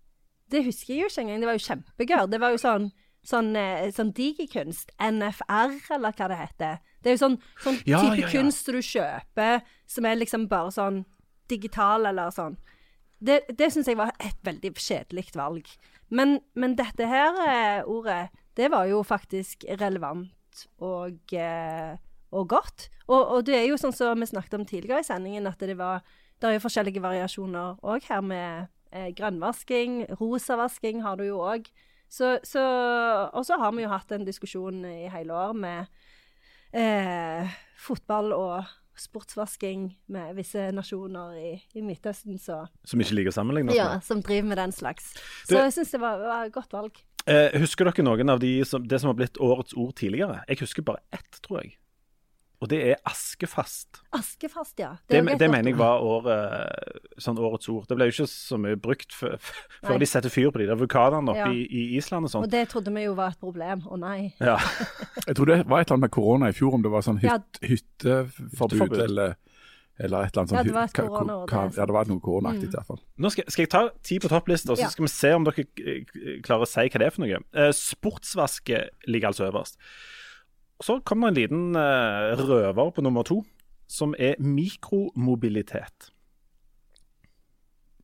Speaker 1: Det husker jeg jo ikke engang. Det var jo kjempegøy. Det var jo sånn, sånn, eh, sånn digikunst. NFR, eller hva det heter. Det er jo sånn, sånn
Speaker 2: Ja,
Speaker 1: type
Speaker 2: ja, ja.
Speaker 1: kunst du kjøper, som er liksom bare sånn digital, eller sånn. Det, det syns jeg var et veldig kjedelig valg. Men, men dette her eh, ordet, det var jo faktisk relevant og, eh, og godt. Og, og det er jo sånn som vi snakket om tidligere i sendingen, at det var Det er jo forskjellige variasjoner òg her med eh, grønnvasking, rosavasking har du jo òg. Så, så Og så har vi jo hatt en diskusjon i hele år med eh, fotball og sportsvasking med visse nasjoner i, i Midtøsten, så
Speaker 2: Som ikke liker å sammenligne oss med?
Speaker 1: ja, som driver med den slags. Så
Speaker 2: Du-
Speaker 1: jeg syns det var, var et godt valg.
Speaker 2: Eh, husker dere noen av de som, det som har blitt årets ord tidligere? Jeg husker bare ett, tror jeg. Og det er askefast.
Speaker 1: Askefast, ja.
Speaker 2: Det,
Speaker 1: er jo
Speaker 2: det,
Speaker 1: et godt
Speaker 2: mener jeg
Speaker 1: ord.
Speaker 2: var år, eh, sånn årets ord. Det ble jo ikke så mye brukt før,
Speaker 1: Nei.
Speaker 2: før de setter fyr på de der vulkanene oppe
Speaker 1: Ja.
Speaker 2: i, i Island og sånn.
Speaker 1: Og det trodde vi jo var et problem. Å nei.
Speaker 2: Ja.
Speaker 3: Jeg tror det var et eller annet med korona i fjor, om det var sånn hyt,
Speaker 1: Ja.
Speaker 3: hytteforbud
Speaker 2: Hytteforbud.
Speaker 3: eller eller et eller annet sånt.
Speaker 1: Ja, det var et
Speaker 3: hyt- ka-
Speaker 1: korona, og
Speaker 3: ka-
Speaker 1: det Mm. er
Speaker 3: Ja, det var noe koronaaktig i hvert fall.
Speaker 2: Nå skal, skal jeg ta ti på topplista, og så
Speaker 1: Ja.
Speaker 2: skal vi se om dere eh, klarer å si hva det er for noe. Eh, sportsvaske ligger altså øverst. Så kommer en liten eh, røver på nummer to, som er mikromobilitet.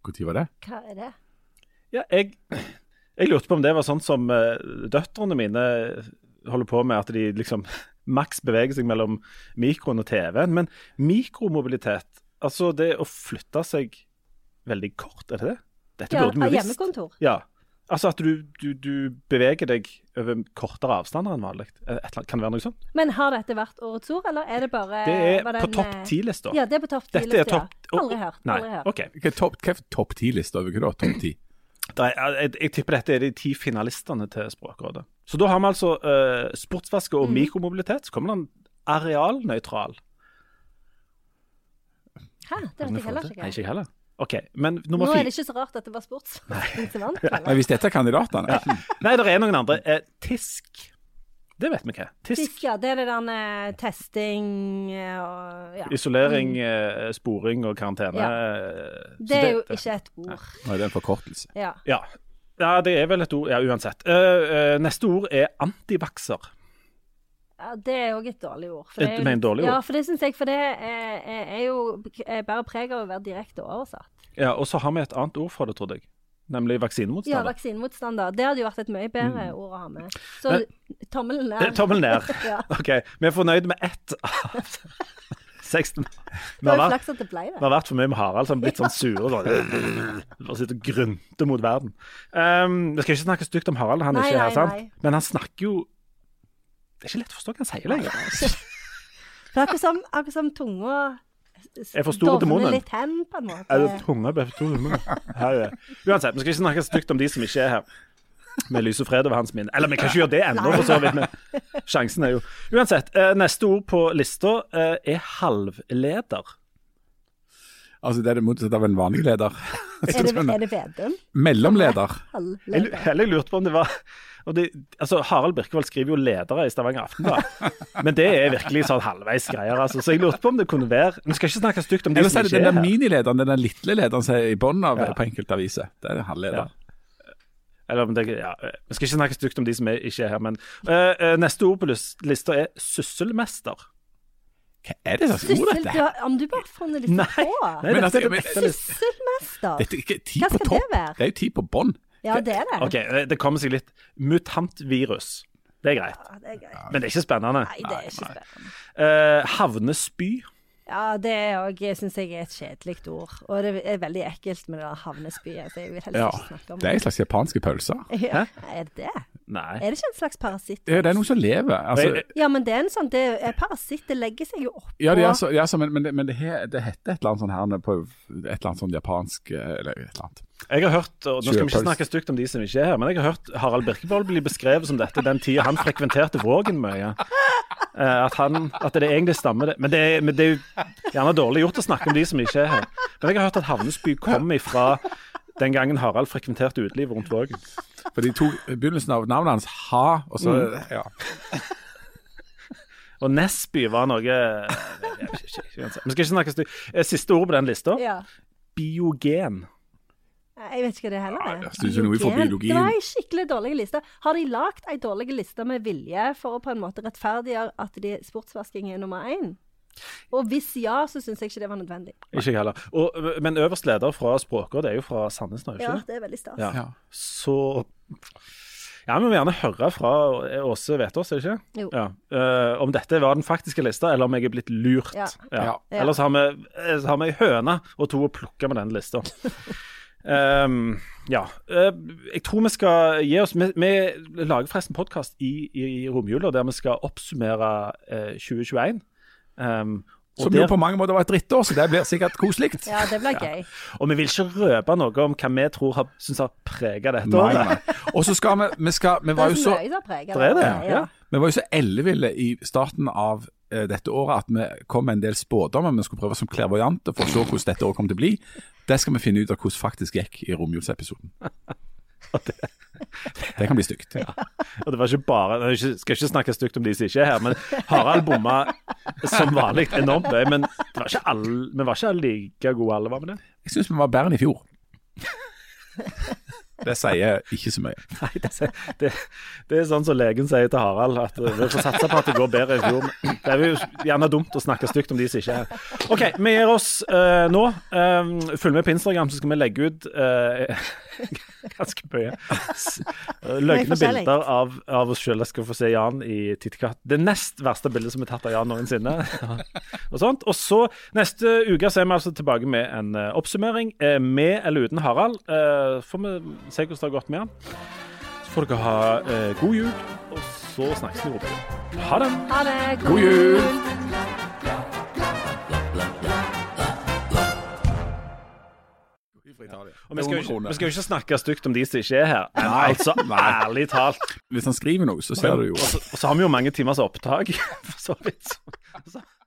Speaker 3: Når var det?
Speaker 1: Hva er det?
Speaker 2: Ja, jeg, jeg lurte på om det var sånn som eh, døtrene mine holder på med, at de liksom maks beveger seg mellom mikroen og TV-en. Men mikromobilitet, altså det å flytte seg veldig kort, er det det? Dette
Speaker 1: Ja,
Speaker 2: burde vi jo visst.
Speaker 1: hjemmekontor.
Speaker 2: Ja. Altså at du, du, du beveger deg over kortere avstander enn vanlig. Eh, et eller annet- Kan det være noe sånt?
Speaker 1: Men har dette vært årets ord, eller er det bare
Speaker 2: Det er
Speaker 1: var
Speaker 2: på
Speaker 1: den,
Speaker 2: topp
Speaker 1: eh,
Speaker 2: ti-lista.
Speaker 1: Ja, det er på topp
Speaker 2: Dette er
Speaker 1: ti-lista.
Speaker 2: topp
Speaker 1: Aldri hørt.
Speaker 2: Nei,
Speaker 1: Aldri hørt.
Speaker 2: OK.
Speaker 3: Hva er topp- hva er topp ti-lista over hva da? Topp ti?
Speaker 2: Da er, jeg, jeg tipper dette er de ti finalistene til Språkrådet. Så da har vi altså eh, sportsvaske
Speaker 1: Mhm.
Speaker 2: og mikromobilitet. Så kommer det en arealnøytral.
Speaker 1: Hæ, det vet jeg heller
Speaker 2: Nei,
Speaker 1: ikke.
Speaker 2: ikke jeg heller. OK, men
Speaker 1: Nå
Speaker 2: nummer
Speaker 1: er
Speaker 2: fire
Speaker 1: det ikke så rart at det var sportsvasking som vant.
Speaker 3: Nei,
Speaker 1: eller?
Speaker 3: Hvis dette er kandidatene
Speaker 2: Nei, det er noen andre. Eh, tisk. Det vet vi hva er. Tisk.
Speaker 1: Fisk, ja. Det er det der med testing eh, og ja.
Speaker 2: Isolering, eh, sporing og karantene.
Speaker 1: Mm. Ja.
Speaker 2: eh, så
Speaker 1: Det er jo
Speaker 2: det-
Speaker 1: ikke et ord.
Speaker 3: Nei, det er en forkortelse.
Speaker 1: Ja.
Speaker 2: Ja. ja, det er vel et ord. Ja, uansett. Eh, eh, neste ord er antivakser.
Speaker 1: Ja, det er òg et dårlig ord. For
Speaker 2: Et-
Speaker 1: det er jo
Speaker 2: du mener
Speaker 1: litt-
Speaker 2: dårlig ord?
Speaker 1: Ja, for det syns jeg. For det er, er jo er bare preg av å være direkte oversatt.
Speaker 2: Ja, og så har vi et annet ord for det, trodde jeg.
Speaker 1: Ja,
Speaker 2: Nemlig vaksinemotstander.
Speaker 1: vaksinemotstander. Det hadde jo vært et mye bedre
Speaker 2: Mm.
Speaker 1: ord å ha med. Så tommelen
Speaker 2: Eh,
Speaker 1: ned.
Speaker 2: Tommel ned.
Speaker 1: ja.
Speaker 2: OK, vi er fornøyd med ett av 16. Vi
Speaker 1: Det
Speaker 2: har
Speaker 1: var jo
Speaker 2: vært,
Speaker 1: flaks at det ble
Speaker 2: vi
Speaker 1: det.
Speaker 2: har vært for mye med Harald, så han har blitt sånn sur. og Sånn. Bare sitter og grynter mot verden. Um, vi skal ikke snakke stygt om Harald, han er
Speaker 1: Nei,
Speaker 2: ikke her,
Speaker 1: nei,
Speaker 2: sant?
Speaker 1: nei.
Speaker 2: Men han snakker jo Det er ikke lett å forstå hva han sier lenger.
Speaker 1: For det er akkurat som, akkurat som tunga s-
Speaker 2: Er for stor til
Speaker 1: dovner
Speaker 2: munnen.
Speaker 1: litt hen, på en måte.
Speaker 2: Er det tunge bøff to hummer? Uansett, vi skal ikke snakke stygt om de som ikke er her. Med lys og fred over hans minne. Eller vi kan ikke gjøre det ennå, for så vidt. Men sjansen er jo Uansett, eh, neste ord på lista eh, er halvleder.
Speaker 3: Altså, det er det motsatte av en vanlig leder.
Speaker 1: Er det, er det Vedum?
Speaker 3: Mellomleder.
Speaker 2: Jeg,
Speaker 1: Halvleder?
Speaker 2: lu- jeg lurte på om det var og det, altså Harald Birkevold skriver jo ledere i Stavanger Aftenblad, men det er virkelig sånn halvveis greier. Altså. Så jeg lurte på om det kunne være Vi skal ikke snakke stygt om de
Speaker 3: Eller så
Speaker 2: som
Speaker 3: er det
Speaker 2: ikke er
Speaker 3: den der
Speaker 2: her.
Speaker 3: minilederen, den der lille lederen som er i bunnen av
Speaker 2: Ja.
Speaker 3: på enkelte aviser. Det er en halvleder.
Speaker 2: Eller om det, ja, eh, Vi skal ikke snakke stygt om de som er, ikke er her, men eh, eh, neste ord på lys- lista er sysselmester.
Speaker 3: Hva er det som er ordet
Speaker 1: Syssel, du
Speaker 3: dette?
Speaker 1: har, om du bare fant det litt
Speaker 2: Nei,
Speaker 1: på.
Speaker 2: Nei,
Speaker 3: Men
Speaker 2: dette
Speaker 3: altså,
Speaker 2: er
Speaker 3: men-
Speaker 2: det beste lista.
Speaker 1: Sysselmester.
Speaker 3: Dette er ikke ti
Speaker 1: Hva
Speaker 3: på
Speaker 1: skal det
Speaker 3: topp.
Speaker 1: være?
Speaker 3: Det er jo ti på bånn.
Speaker 1: Ja, det er det.
Speaker 2: OK, eh, det kommer seg litt. Mutantvirus. Det er greit,
Speaker 1: Ja, det er greit.
Speaker 2: men det er ikke spennende.
Speaker 1: Nei, det er ikke spennende.
Speaker 2: Eh, havnespy.
Speaker 1: Ja, det òg syns jeg er et kjedelig ord. Og det er veldig ekkelt med det der havnespyet, så jeg vil helst
Speaker 3: Ja.
Speaker 1: ikke snakke om
Speaker 3: Det er en slags japanske pølser.
Speaker 1: Ja, er det det?
Speaker 2: Nei. Eh,
Speaker 1: Er det ikke en slags parasitt?
Speaker 3: Ja, Det er noen som lever.
Speaker 2: Og
Speaker 3: Altså,
Speaker 2: jeg-
Speaker 1: Ja, men det er en sånn det er Parasitt det legger seg jo oppå
Speaker 3: ja, det er altså- så, ja, så, men, men, det, men det, he, det heter et eller annet sånn her på et eller annet sånn japansk eh, Eller et eller annet.
Speaker 2: Jeg har hørt, og nå skal vi ikke
Speaker 3: Kjøpers.
Speaker 2: snakke stygt om de som ikke er her, men jeg har hørt Harald Birkevold bli beskrevet som dette den tida han frekventerte Vågen mye. Eh, At, han, at det egentlig stammer det. Men, det er, men det er jo gjerne dårlig gjort å snakke om de som ikke er her. Men jeg har hørt at Havnesby kom ifra den gangen Harald frekventerte utelivet rundt Vågen.
Speaker 3: For de tok begynnelsen av navnet hans Ha, og så ja.
Speaker 2: Og Nesby var noe eh, jeg vet ikke, ikke uansett. Vi skal ikke snakke stygt. Eh, Siste ord på den lista
Speaker 1: Ja.
Speaker 2: biogen.
Speaker 1: Nei, Jeg vet ikke hva det heller
Speaker 3: Ja, det synes jeg noe for biologien.
Speaker 1: Det var ei skikkelig dårlig liste. Har de lagd ei dårlig liste med vilje for å på en måte rettferdiggjøre at de sportsvasking er nummer én? Og hvis ja, så syns jeg ikke det var nødvendig.
Speaker 2: Ikke jeg heller. Og, men øverst leder fra Språkrådet er jo fra Sandnes nå, er det ikke
Speaker 1: Ja,
Speaker 2: det?
Speaker 1: det er veldig stas.
Speaker 2: Ja.
Speaker 3: Ja.
Speaker 2: Så Ja, vi må gjerne høre fra Åse Vetås, er det ikke?
Speaker 1: Jo.
Speaker 2: Ja. Eh, om dette var den faktiske lista, eller om jeg er blitt lurt.
Speaker 1: Ja.
Speaker 3: Ja.
Speaker 2: Ellers har vi, eh, så har vi ei høne og to å plukke med den lista. Ehm, ja. Eh, jeg tror vi skal gi oss Vi, vi lager forresten podkast i, i, i romjula der vi skal oppsummere eh, 2021. Ehm, og
Speaker 3: Som
Speaker 2: der-
Speaker 3: jo på mange måter var et drittår, så det blir sikkert koselig.
Speaker 1: Ja, det blir gøy.
Speaker 2: og vi vil ikke røpe noe om hva vi tror har, synes har prega dette
Speaker 3: Nei,
Speaker 2: året.
Speaker 3: nei. Og så skal vi Vi, skal, vi
Speaker 1: Det
Speaker 3: var
Speaker 1: er
Speaker 3: jo
Speaker 1: så
Speaker 3: så
Speaker 1: mye som preger
Speaker 2: Det er det,
Speaker 1: Ja,
Speaker 2: ja.
Speaker 3: Vi var jo så elleville i starten av eh, dette året at vi kom med en del spådommer. Vi skulle prøve som klærvoajante for å se hvordan dette året kom til å bli. Det skal vi finne ut av hvordan faktisk gikk i romjulsepisoden. Det kan bli stygt.
Speaker 2: Og det var ikke bare jeg ikke- Skal ikke snakke stygt om de som ikke er her, men Harald bomma som vanlig enormt mye. Men det var ikke alle, vi var ikke like gode alle, var vi det?
Speaker 3: Jeg syns vi var bedre enn i fjor. Det sier ikke så mye.
Speaker 2: Nei, det, det, det er sånn som legen sier til Harald, at eh, vi får satse på at det går bedre i fjor. men Det er jo gjerne dumt å snakke stygt om de som ikke er her. OK, vi gir oss eh, nå. Eh, følg med på Instagram, så skal vi legge ut eh, ganske mye s- eh, løgne
Speaker 1: forskjellig.
Speaker 2: bilder av, av oss sjøl. Jeg skal få se Jan i Tittekatt. Det nest verste bildet som er tatt av Jan noensinne. og sånt. Og så neste uke så er vi altså tilbake med en eh, oppsummering, eh, med eller uten Harald. Eh, får vi se hvordan det har gått med han. Så får dere ha eh, god jul, og så snakkes vi oppe. Ha det.
Speaker 1: Ha det.
Speaker 3: God jul!
Speaker 2: Og vi skal, jo ikke, vi skal jo ikke snakke stygt om de som ikke er her, men
Speaker 3: Nei.
Speaker 2: altså
Speaker 3: Nei.
Speaker 2: ærlig talt.
Speaker 3: Hvis han skriver noe, så ser du jo.
Speaker 2: Og så, og så har vi jo mange timers opptak, for så vidt. Så, så.